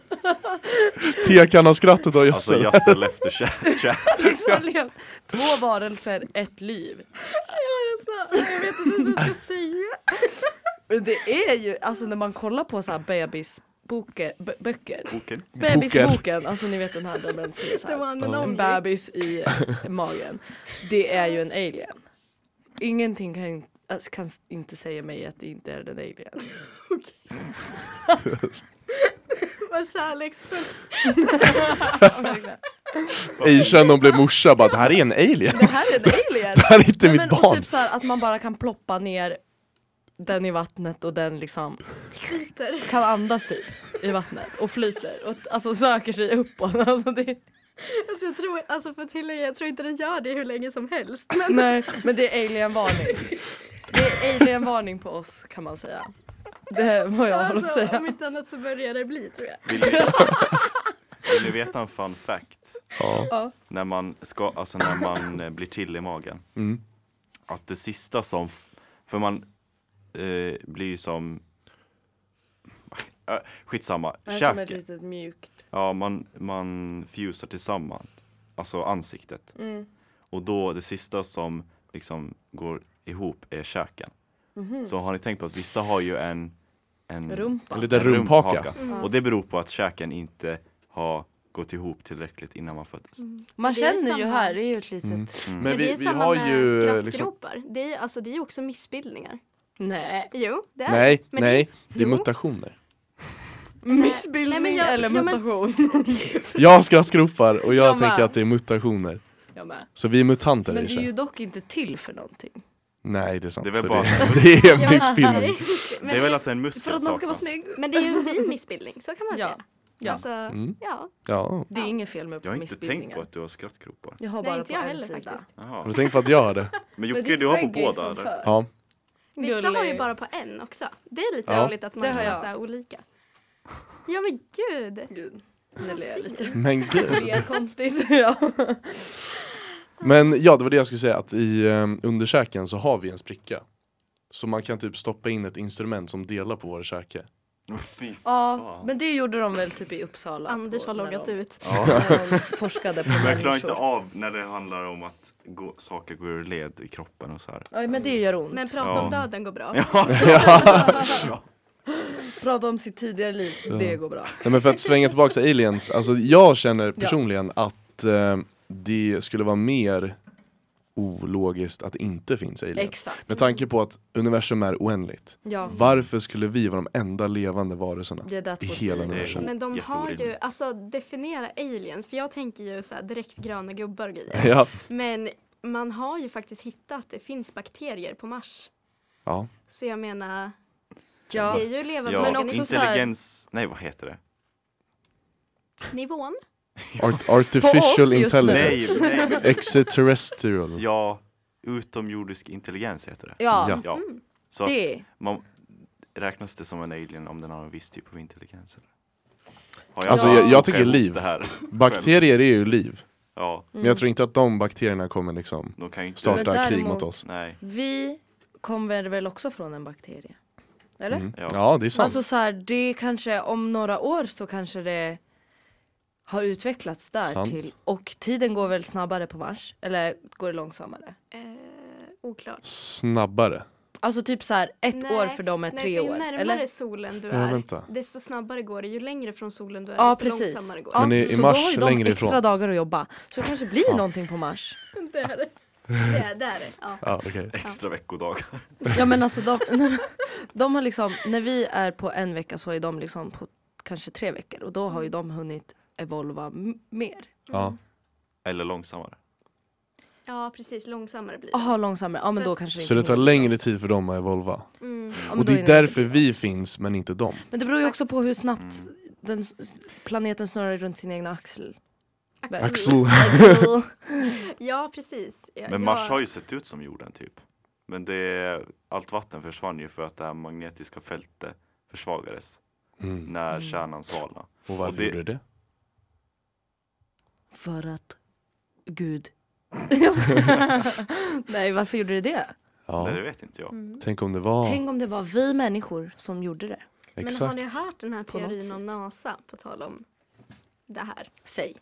Tekanna-skrattet av
Alltså
Jassel.
Jasse Lefterchat.
Så har levt Liksom två varelser, ett liv.
jag vet inte vad jag ska säga.
Men Det är ju, alltså när man kollar på så här bebisboke- bö- böcker.
Boken.
Bebisboken, alltså ni vet den här där man ser så
The
här,
one
en
and only.
bebis i magen. Det är ju en alien. Ingenting kan, alltså, kan inte säga mig att det inte är en alien.
Vad kärleksfullt.
Asian hon blev morsa bara, det här är en alien.
Det här är en alien!
Det här är inte
Nej,
mitt
men, och
barn.
typ så här, att man bara kan ploppa ner den i vattnet och den liksom
Peter.
kan andas typ i vattnet och flyter och alltså söker sig uppåt. Alltså, det,
Alltså, jag tror, alltså för att tillägga, jag tror inte den gör det hur länge som helst. Men
nej, men det är alien-varning. Det är alien-varning på oss kan man säga. Det är vad jag har att
alltså, om
säga.
inte annat så börjar det bli tror jag.
Vill ni, vill ni veta en fun fact?
Ja.
När man, ska, alltså när man eh, blir till i magen.
Mm.
Att det sista som, f- för man eh, blir ju som Äh, Skitsamma, käke.
litet mjukt.
Ja, man, man fusar tillsammans, alltså ansiktet.
Mm.
Och då det sista som liksom går ihop är käken.
Mhm.
Så har ni tänkt på att vissa har ju en, en
Rumpa.
En liten rumphaka.
rumphaka.
Mm.
Och det beror på att käken inte har gått ihop tillräckligt innan man föddes.
Man
Det är
känner ju
samma-
här, det är ju ett litet...
Mm.
Men
det
vi,
är
vi
samma
har
med
ju eh, liksom...
skrattgropar. Det, är, ju- alltså, det är ju också missbildningar.
Nej.
Eh, Jo, det är
Nej,
Men
nej, det är
jo.
mutationer.
Mm. Missbildning
Nej, men jag-
eller
ja, men-
mutation.
Jag har skrattgropar och jag
Jag med.
tänker att det är mutationer.
Jag med.
Så vi är mutanter
Men det är
Asia.
ju dock inte till för någonting.
Nej det är sant.
Det är väl
Så
bara-
det, det är en missbildning.
Men
det är väl att en muskel
För att man ska vara
saknas.
snygg.
Men det är ju en fin missbildning, så kan man
Ja.
säga.
Ja.
Alltså,
Mm.
ja.
Ja.
Det är inget fel med
Jag har inte tänkt
missbildningar.
på att du har skrattgropar.
Jag har
Nej,
bara
inte
på
jag
en
heller
sida.
faktiskt.
Jaha.
Har du tänkt på att jag har det?
Men
Men
Jocke,
ditt
du har på
skägg är ju
båda
som
eller?
förr.
Ja.
Vissa har ju
Gullig.
bara på en också. Det är lite
Ja.
roligt att man
Det
kan
har
ha
jag.
så här olika. Ja men gud.
Gud, nu ler jag lite.
Men gud.
Det är konstigt. ja.
Men ja, det var det jag skulle säga att i eh, underkäken så har vi en spricka. Så man kan typ stoppa in ett instrument som delar på vår käke.
Åh, fy fan.
ja, men det gjorde de väl typ i Uppsala.
Anders
på-
har
när
loggat
de,
ut.
När de forskade på
Men jag klarar inte
människor.
av när det handlar om att gå, saker går ur led i kroppen och så här.
Ja, men det gör ont.
Men prata
Ja.
om döden går bra.
Prata om sitt tidigare liv, det går bra.
Nej men för att svänga tillbaka till ehm, aliens, alltså jag känner personligen att eh, det skulle vara mer ologiskt att det inte finns aliens.
Exakt.
Med tanke på att universum är oändligt.
Ja,
Varför skulle vi vara de enda levande varelserna?
yeah, that
I
would
hela
be-
den här känslan.
Men de har ju,
Jätteorimligt.
alltså definiera aliens, för jag tänker ju så här direkt gröna gubbar och grejer.
Ja,
Men man har ju faktiskt hittat att det finns bakterier på Mars.
ja.
Så jag menar,
Ja.
det är ju levande
Ja,
men
men
också så här-
intelligens, nej vad heter det?
nivån.
Art- artificial
just nu.
intelligence.
Nej, nej, men,
Extraterrestrial.
ja, utomjordisk intelligens heter det.
Ja,
Ja.
Ja, så att
det.
man, räknas det som en alien om den har en viss typ av intelligens? Eller? Har
Alltså,
jag-
jag tycker
kokar ihop
liv.
Det här.
Bakterier är ju liv.
Ja,
Men jag tror inte att de bakterierna kommer liksom
de kan ju inte...
starta
Mm. Men
krig
däremot-
mot oss.
Nej,
Vi kommer väl också från en bakterie? Eller?
Mm.
Ja.
Ja, det är sant.
Alltså så här, det kanske om några år så kanske det har utvecklats där
Sant.
till. Och tiden går väl snabbare på Mars? Eller går det långsammare?
Eh, oklart.
Snabbare.
Alltså typ så här, ett
Nej,
år för dem är
Nej,
tre
för ju
år.
närmare
Eller?
solen du
Ja,
är,
vänta.
desto snabbare går det. Ju längre från solen du är,
Ja
desto
precis.
långsammare går det.
Ja,
Men i- i
så
Mars
då har ju
längre
de
ifrån.
extra dagar att jobba. Så det kanske blir någonting på Mars.
Det är det. Det är det. Är det. Ja.
Ja, okej.
extra veckodagar.
Ja men alltså de, de har liksom, när vi är på en vecka så är de liksom på kanske tre veckor och då har ju
Mm.
de hunnit evolva m- mer.
Ja.
Eller långsammare.
ja, precis. Långsammare blir det.
Jaha långsammare, ja men då kanske
Så det tar
hinner.
längre tid för dem att evolva.
Mm.
Ja,
Och
men då
det är
hinner det
därför vi finns men inte dem.
Men det beror ju också på hur snabbt
Mm.
den, s- planeten snurrar runt sin egna axel.
Axel.
Axel.
Ja, precis. Ja,
Men
jag-
Mars har ju sett ut som jorden typ. Men det, allt vatten försvann ju för att det här magnetiska fältet försvagades
Mm.
när kärnan svalnade.
Och varför
Och det-
gjorde det det?
För att Gud. Nej varför gjorde det det?
Nej,
Ja.
det vet inte jag.
Mm.
Tänk om det var...
Tänk om det var vi människor som gjorde det.
Men
Exakt.
har ni hört den här
På något
teorin
sätt.
om NASA på tal om det här? Säg.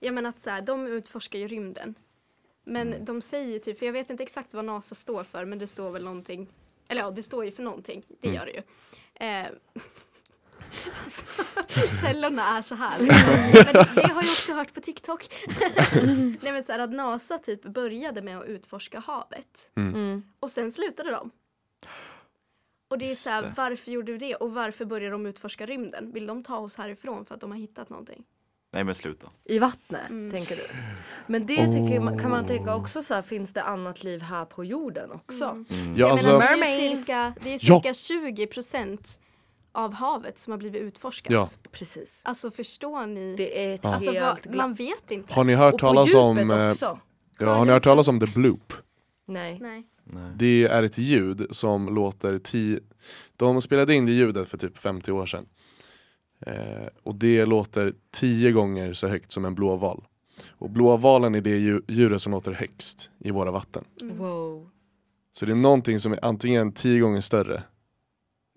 Ja men att så här, de utforskar ju rymden. Men
Mm.
de säger ju typ, för jag vet inte exakt vad NASA står för men det står väl någonting. Eller ja, det står ju för någonting. Det
Mm.
gör det ju. Eh, så- Källorna är så här. Men det har jag också hört på TikTok. Nej men så här att NASA typ började med att utforska havet.
Mm.
Och sen slutade de. Och det är
Just
så här,
det.
varför gjorde du det? Och varför börjar de utforska rymden? Vill de ta oss härifrån för att de har hittat någonting?
Nej men sluta.
I vattnet,
Mm.
tänker du? Men det tänker man, kan man tänka också så här, finns det annat liv här på jorden också?
Mm.
Mm.
Ja,
Jag menar,
alltså,
det är ju
Mermaids.
cirka, det är
Ja.
cirka 20 procent av havet som har blivit utforskat.
Ja.
Precis.
Alltså förstår ni?
Det är ett
alltså,
helt
vad,
glapp.
man vet inte.
har ni hört
Och på
talas om...
djupet
eh,
också.
Ja, har ni hört talas om the bloop?
Nej.
Nej.
Det är ett ljud som låter 10 De spelade in det ljudet för typ 50 år sedan. Eh, och det låter 10 gånger så högt som en blåval. Och blåvalen är det dju- djuret som låter högst i våra vatten.
Mm.
Wow.
Så det är någonting som är antingen 10 gånger större,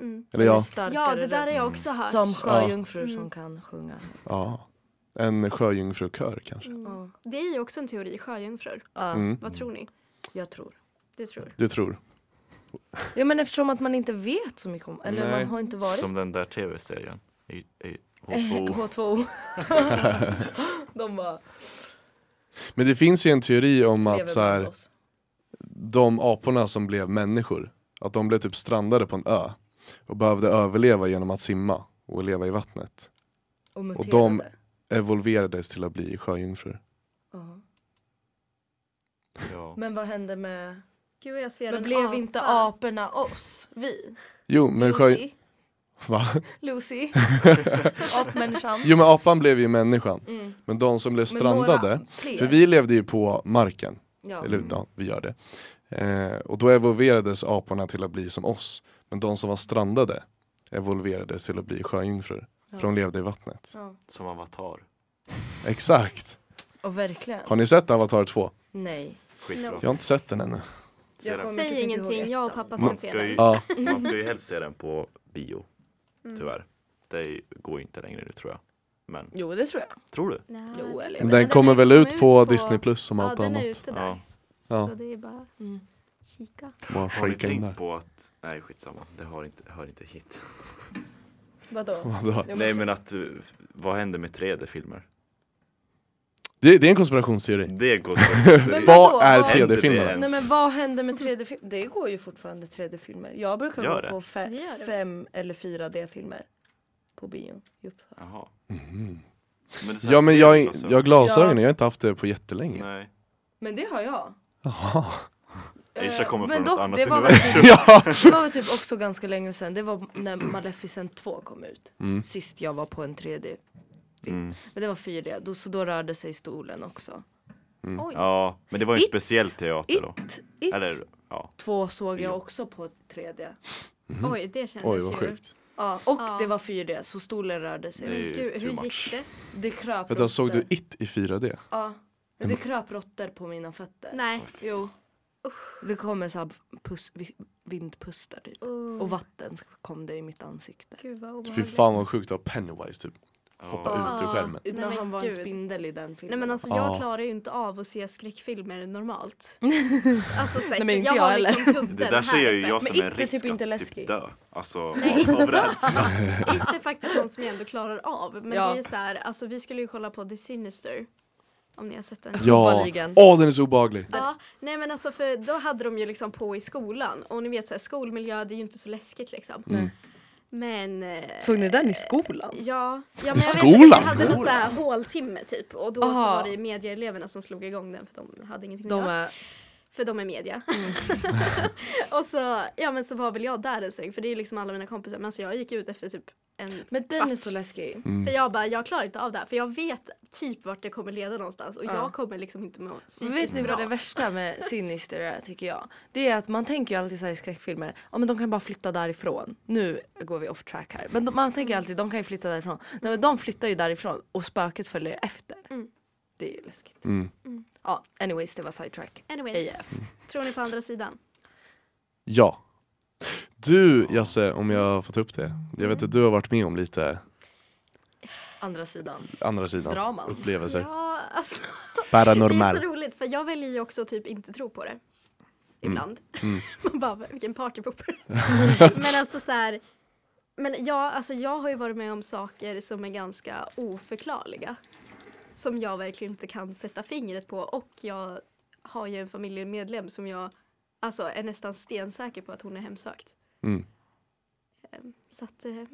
Mm.
eller ja,
Ja, det där har jag också hört.
Som sjöjungfrur
Ja. Mm.
som kan sjunga.
ja en sjöjungfrukör kanske.
Ja.
Mm. Det är ju också en teori, sjöjungfrur.
Ja,
Mm,
Vad tror ni?
jag tror.
Du tror?
du tror?
Ja men eftersom att man inte vet så mycket om, eller
Nej.
man har inte varit
Som den där tv-serien. I, i
Eh,
H2O.
H2O. De bara
Men det finns ju en teori om
lever
att så
bland
här,
oss.
de aporna som blev människor, att de blev typ strandade på en ö och behövde överleva genom att simma och leva i vattnet.
Och,
och
muterade.
de- Evolverades till att bli sjöjungfrur.
Ja.
Ja.
Men vad hände med
Gud, jag ser
Men
en
blev
apa.
inte aporna oss? Vi?
Jo men, sjö...
Lucy?
Va?
Lucy? Apmänniskan?
jo, men apan blev ju människan,
Mm.
men de som blev
Men några Mm.
strandade,
fler.
för vi levde ju på marken,
ja.
eller ja, vi gör det. Eh, och då evolverades aporna till att bli som oss, men de som var strandade evolverades till att bli sjöjungfrur,
Ja.
för de levde i vattnet.
Ja.
Som avatar.
Exakt!
Och verkligen.
Har ni sett Avatar 2?
Nej.
Skitbra.
Jag har inte sett den ännu.
Se
jag
den.
kommer-
Säg
tycker inte ihåg
ingenting, jag och
ettan.
pappa
Man
ska se
ska,
den.
ju,
Ja,
man ska ju helst se den på bio. Tyvärr. Det går ju inte längre nu tror jag. Men,
Jo det tror jag.
tror du?
Nej.
Jo, eller-
men den
Men
den
kommer
är-
väl
kommer
ut
ut
på
på-
Disney plus som
Ja,
allt
den är
annat.
ute där.
Ja.
Ja,
Så det är bara
Mm.
kika.
bara
Har ni
skicka in där.
tänkt på att, nej skitsamma, det har inte, hör inte hit.
Vadå?
Vadå?
Jo,
eh, Nej men att, uh, vad händer med 3D-filmer?
Det, det är en konspirationsteori.
Det går så.
Men vadå?
Vad är
Vad
händer
3D-filmer?
det?
Nej men vad händer med 3D-filmer? Det går ju fortfarande 3D-filmer. Jag brukar
Gör
gå
det?
på fe-
Det gör det.
fem eller fyra D-filmer på bio i Uppsala.
Jaha. Men det är så här
Ja men jag,
trevligt, alltså.
jag har glasögon, jag har inte haft det på jättelänge.
Nej.
Men det har jag.
Jaha.
Eh,
Aisha kommer från
men dock,
ett annat
det var, väl
universum.
typ,
Ja.
det var väl typ också ganska länge sedan. Det var när Maleficent 2 kom ut. Sist jag var på en 3D.
Mm.
Men det var 4D, då, så då rörde sig stolen också.
Mm.
Oj.
Ja, men det var ju en
It-
speciell teater då.
It, it
Eller ja.
2 såg
Jo.
jag också på 3D.
Oj, det kändes
Oj vad
ju.
sjukt.
Ja, och
Ja.
det var 4D, så stolen rörde sig.
Det är ju
Gud,
too
hur
much.
gick det?
Det kröp
Vänta, såg
råttor.
du It i 4D?
Ja. Men Det kröp råttor på mina fötter.
Nej.
Jo. Det kommer så här pus- vi- vindpustar typ.
Oh,
Och vatten kom det i mitt ansikte.
Gud vad
Fy
obehagligt.
fan vad sjukt att ha Pennywise typ
Ja.
hoppa ut ur
Ah.
skärmen.
Nej,
När
men
han var en
gud.
spindel i den filmen.
Nej men alltså
Ja.
jag klarar ju inte av att se skräckfilmer normalt. Alltså säkert.
men inte
jag,
jag
har
heller.
liksom kudden
Det där ser
här
jag ju
uppe.
jag
Men
som en
It är
risk
typ inte
att
läskig.
typ dö. Alltså
Nej, inte
av rädsla.
Inte faktiskt någon som jag ändå klarar av. Men
Ja.
det är ju så här, alltså vi skulle ju kolla på The Sinister. Om ni har sett den.
Ja,
Uppenbarligen.
åh den är så obehaglig.
Ja, nej men alltså för då hade de ju liksom på i skolan och ni vet så här, skolmiljö det är ju inte så läskigt liksom. Men eh,
Såg ni den i skolan?
Ja, ja men jag vet
skolan?
att vi hade någon sån här håltimme typ och då så
Aha.
var det medieeleverna som slog igång den för de hade ingenting
De
att göra.
är... Mm.
För de är media. och så, ja men så var väl jag där en sväng för det är ju liksom alla mina kompisar men så jag gick ut efter typ en
Men den är
kvart.
så läskig.
För jag bara, jag klarar inte av det här för jag vet typ vart det kommer leda någonstans och
Ja.
jag kommer liksom inte må
Vet
psykiskt
ni
bra.
vad det värsta med Sinister är tycker jag? Det är att man tänker ju alltid så här i skräckfilmer, ja men de kan bara flytta därifrån. Nu går vi off track här. Men de, man
Mm.
tänker alltid, de kan ju flytta därifrån. Nej men de flyttar ju därifrån och spöket följer efter.
Mm.
Det är ju läskigt.
Mm.
Ja, anyways det var sidetrack.
Anyways,
AF.
tror ni på andra sidan?
Ja. Du Jasse, om jag får ta upp det. Jag
Mm.
vet att du har varit med om lite
Andra sidan.
andra sidan
Draman.
upplevelser.
Ja, alltså Det är
Paranormal.
så roligt för jag väljer ju också att typ inte tro på det. Ibland. Man bara, vilken partypooper. men alltså så här. Men jag, alltså jag har ju varit med om saker som är ganska oförklarliga. Som jag verkligen inte kan sätta fingret på och jag har ju en familjemedlem som jag alltså är nästan stensäker på att hon är hemsökt.
Mm.
Ehm, Så att, eh, ja,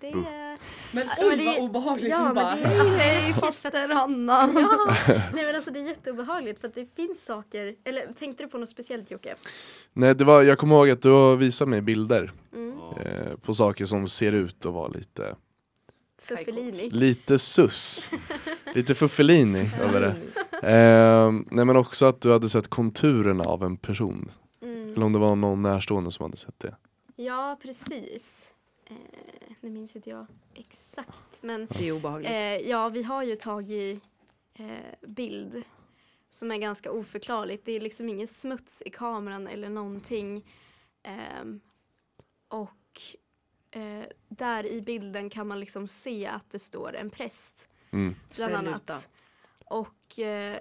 det
Buh.
är...
Men
oj, Men det- vad
obehagligt.
Ja, men det är, alltså, det är ju faster Anna. Ja, nej men alltså det är jätteobehagligt för att det finns saker, eller tänkte du på något speciellt Jocke?
Nej, det var, jag kommer ihåg att du har visat mig bilder
Mm.
eh, på saker som ser ut att vara lite,
Fuffelini.
lite sus. lite fuffelini över det. Ehm, nej men också att du hade sett konturerna av en person.
Mm.
Eller om det var någon närstående som hade sett det.
Ja, precis. Eh, nu minns inte jag exakt men
Det är obehagligt.
eh, ja, vi har ju tagit eh, bild som är ganska oförklarligt. Det är liksom ingen smuts i kameran eller någonting. Ehm, och eh, där i bilden kan man liksom se att det står en präst
Mm.
bland
Säg luta.
annat. Och eh,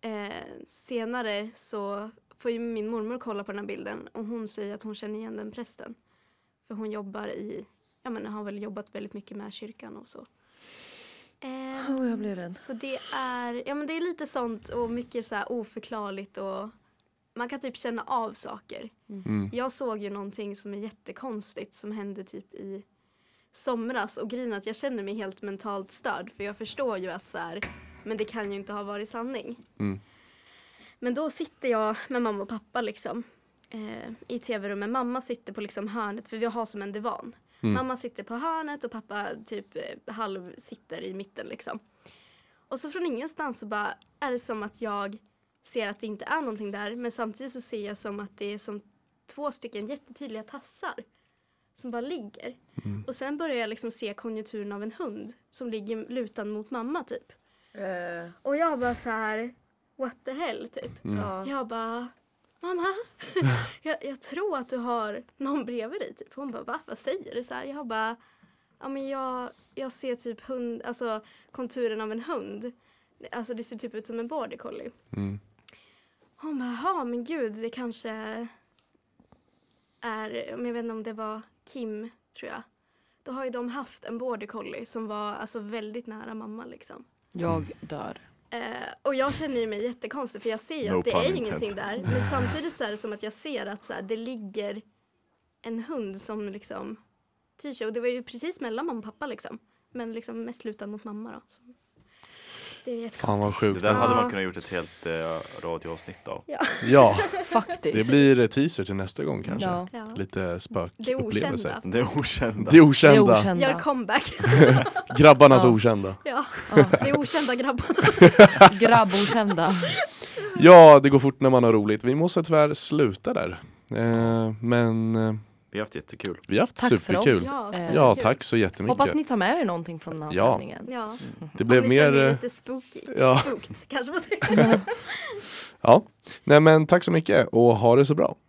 eh, senare så får ju min mormor kolla på den här bilden och hon säger att hon känner igen den prästen. För hon jobbar i, ja men har väl jobbat väldigt mycket med kyrkan och så. Ehm,
Oh, jag blir rädd.
så det är, ja men det är lite sånt och mycket så här oförklarligt och man kan typ känna av saker.
Mm.
Jag såg ju någonting som är jättekonstigt som hände typ i somras och grejen är att jag känner mig helt mentalt störd för jag förstår ju att så här, men det kan ju inte ha varit sanning.
Mm.
Men då sitter jag med mamma och pappa liksom eh, i tv-rummet. Mamma sitter på liksom hörnet för vi har som en divan.
Mm.
Mamma sitter på hörnet och pappa typ eh, halv sitter i mitten liksom. Och så från ingenstans så bara är det som att jag ser att det inte är någonting där men samtidigt så ser jag som att det är som två stycken jättetydliga tassar som bara ligger. Och sen börjar jag liksom se konjunkturen av en hund som ligger lutad mot mamma typ.
Eh,
Och jag bara så här what the hell typ.
ja.
Jag bara, mamma, jag, jag tror att du har någon bredvid dig. Typ. Hon bara, va? Vad säger du? Så här, jag bara, ja men jag, jag ser typ hund, alltså konturen av en hund. Alltså det ser typ ut som en border collie.
Mm.
Hon bara, ja men gud, det kanske är, men jag vet inte om det var Kim, tror jag. Då har ju de haft en border collie som var alltså väldigt nära mamma liksom.
Jag dör.
Eh, och jag känner ju mig jättekonstig för jag ser ju
No
att det
pun
är ju
intended.
ingenting där. Men samtidigt så är det som att jag ser att så här, det ligger en hund som liksom styr sig. Och det var ju precis mellan mamma och pappa liksom. Men liksom mest lutad mot mamma då. Så. Det är
Fan
jättekonstigt.
vad
Det
sjukt.
där hade
Ja.
man kunnat gjort ett helt eh, radioavsnitt av.
Ja,
Faktiskt.
det blir teaser till nästa gång kanske.
ja.
Ja.
Lite
Det
spökupplevelser.
okända.
Det
Det
okända.
det är
okända.
Gör
okända.
comeback.
Grabbarnas
Ja.
okända.
ja,
Ja.
det är okända grabbar.
Grabbokända.
Ja, det går fort när man har roligt. Vi måste tyvärr sluta där. Eh, men eh,
Vi har haft jättekul.
vi har haft
Tack för
superkul.
oss.
Ja,
Eh,
superkul.
Ja, tack så jättemycket.
Hoppas ni tar med er någonting från den här
Ja.
sändningen.
Ja,
Det
blev
blev
ni
mer...
känner er
eh,
lite spooky.
ja.
Spookt kanske man säger.
Ja. Nej men tack så mycket och ha det så bra.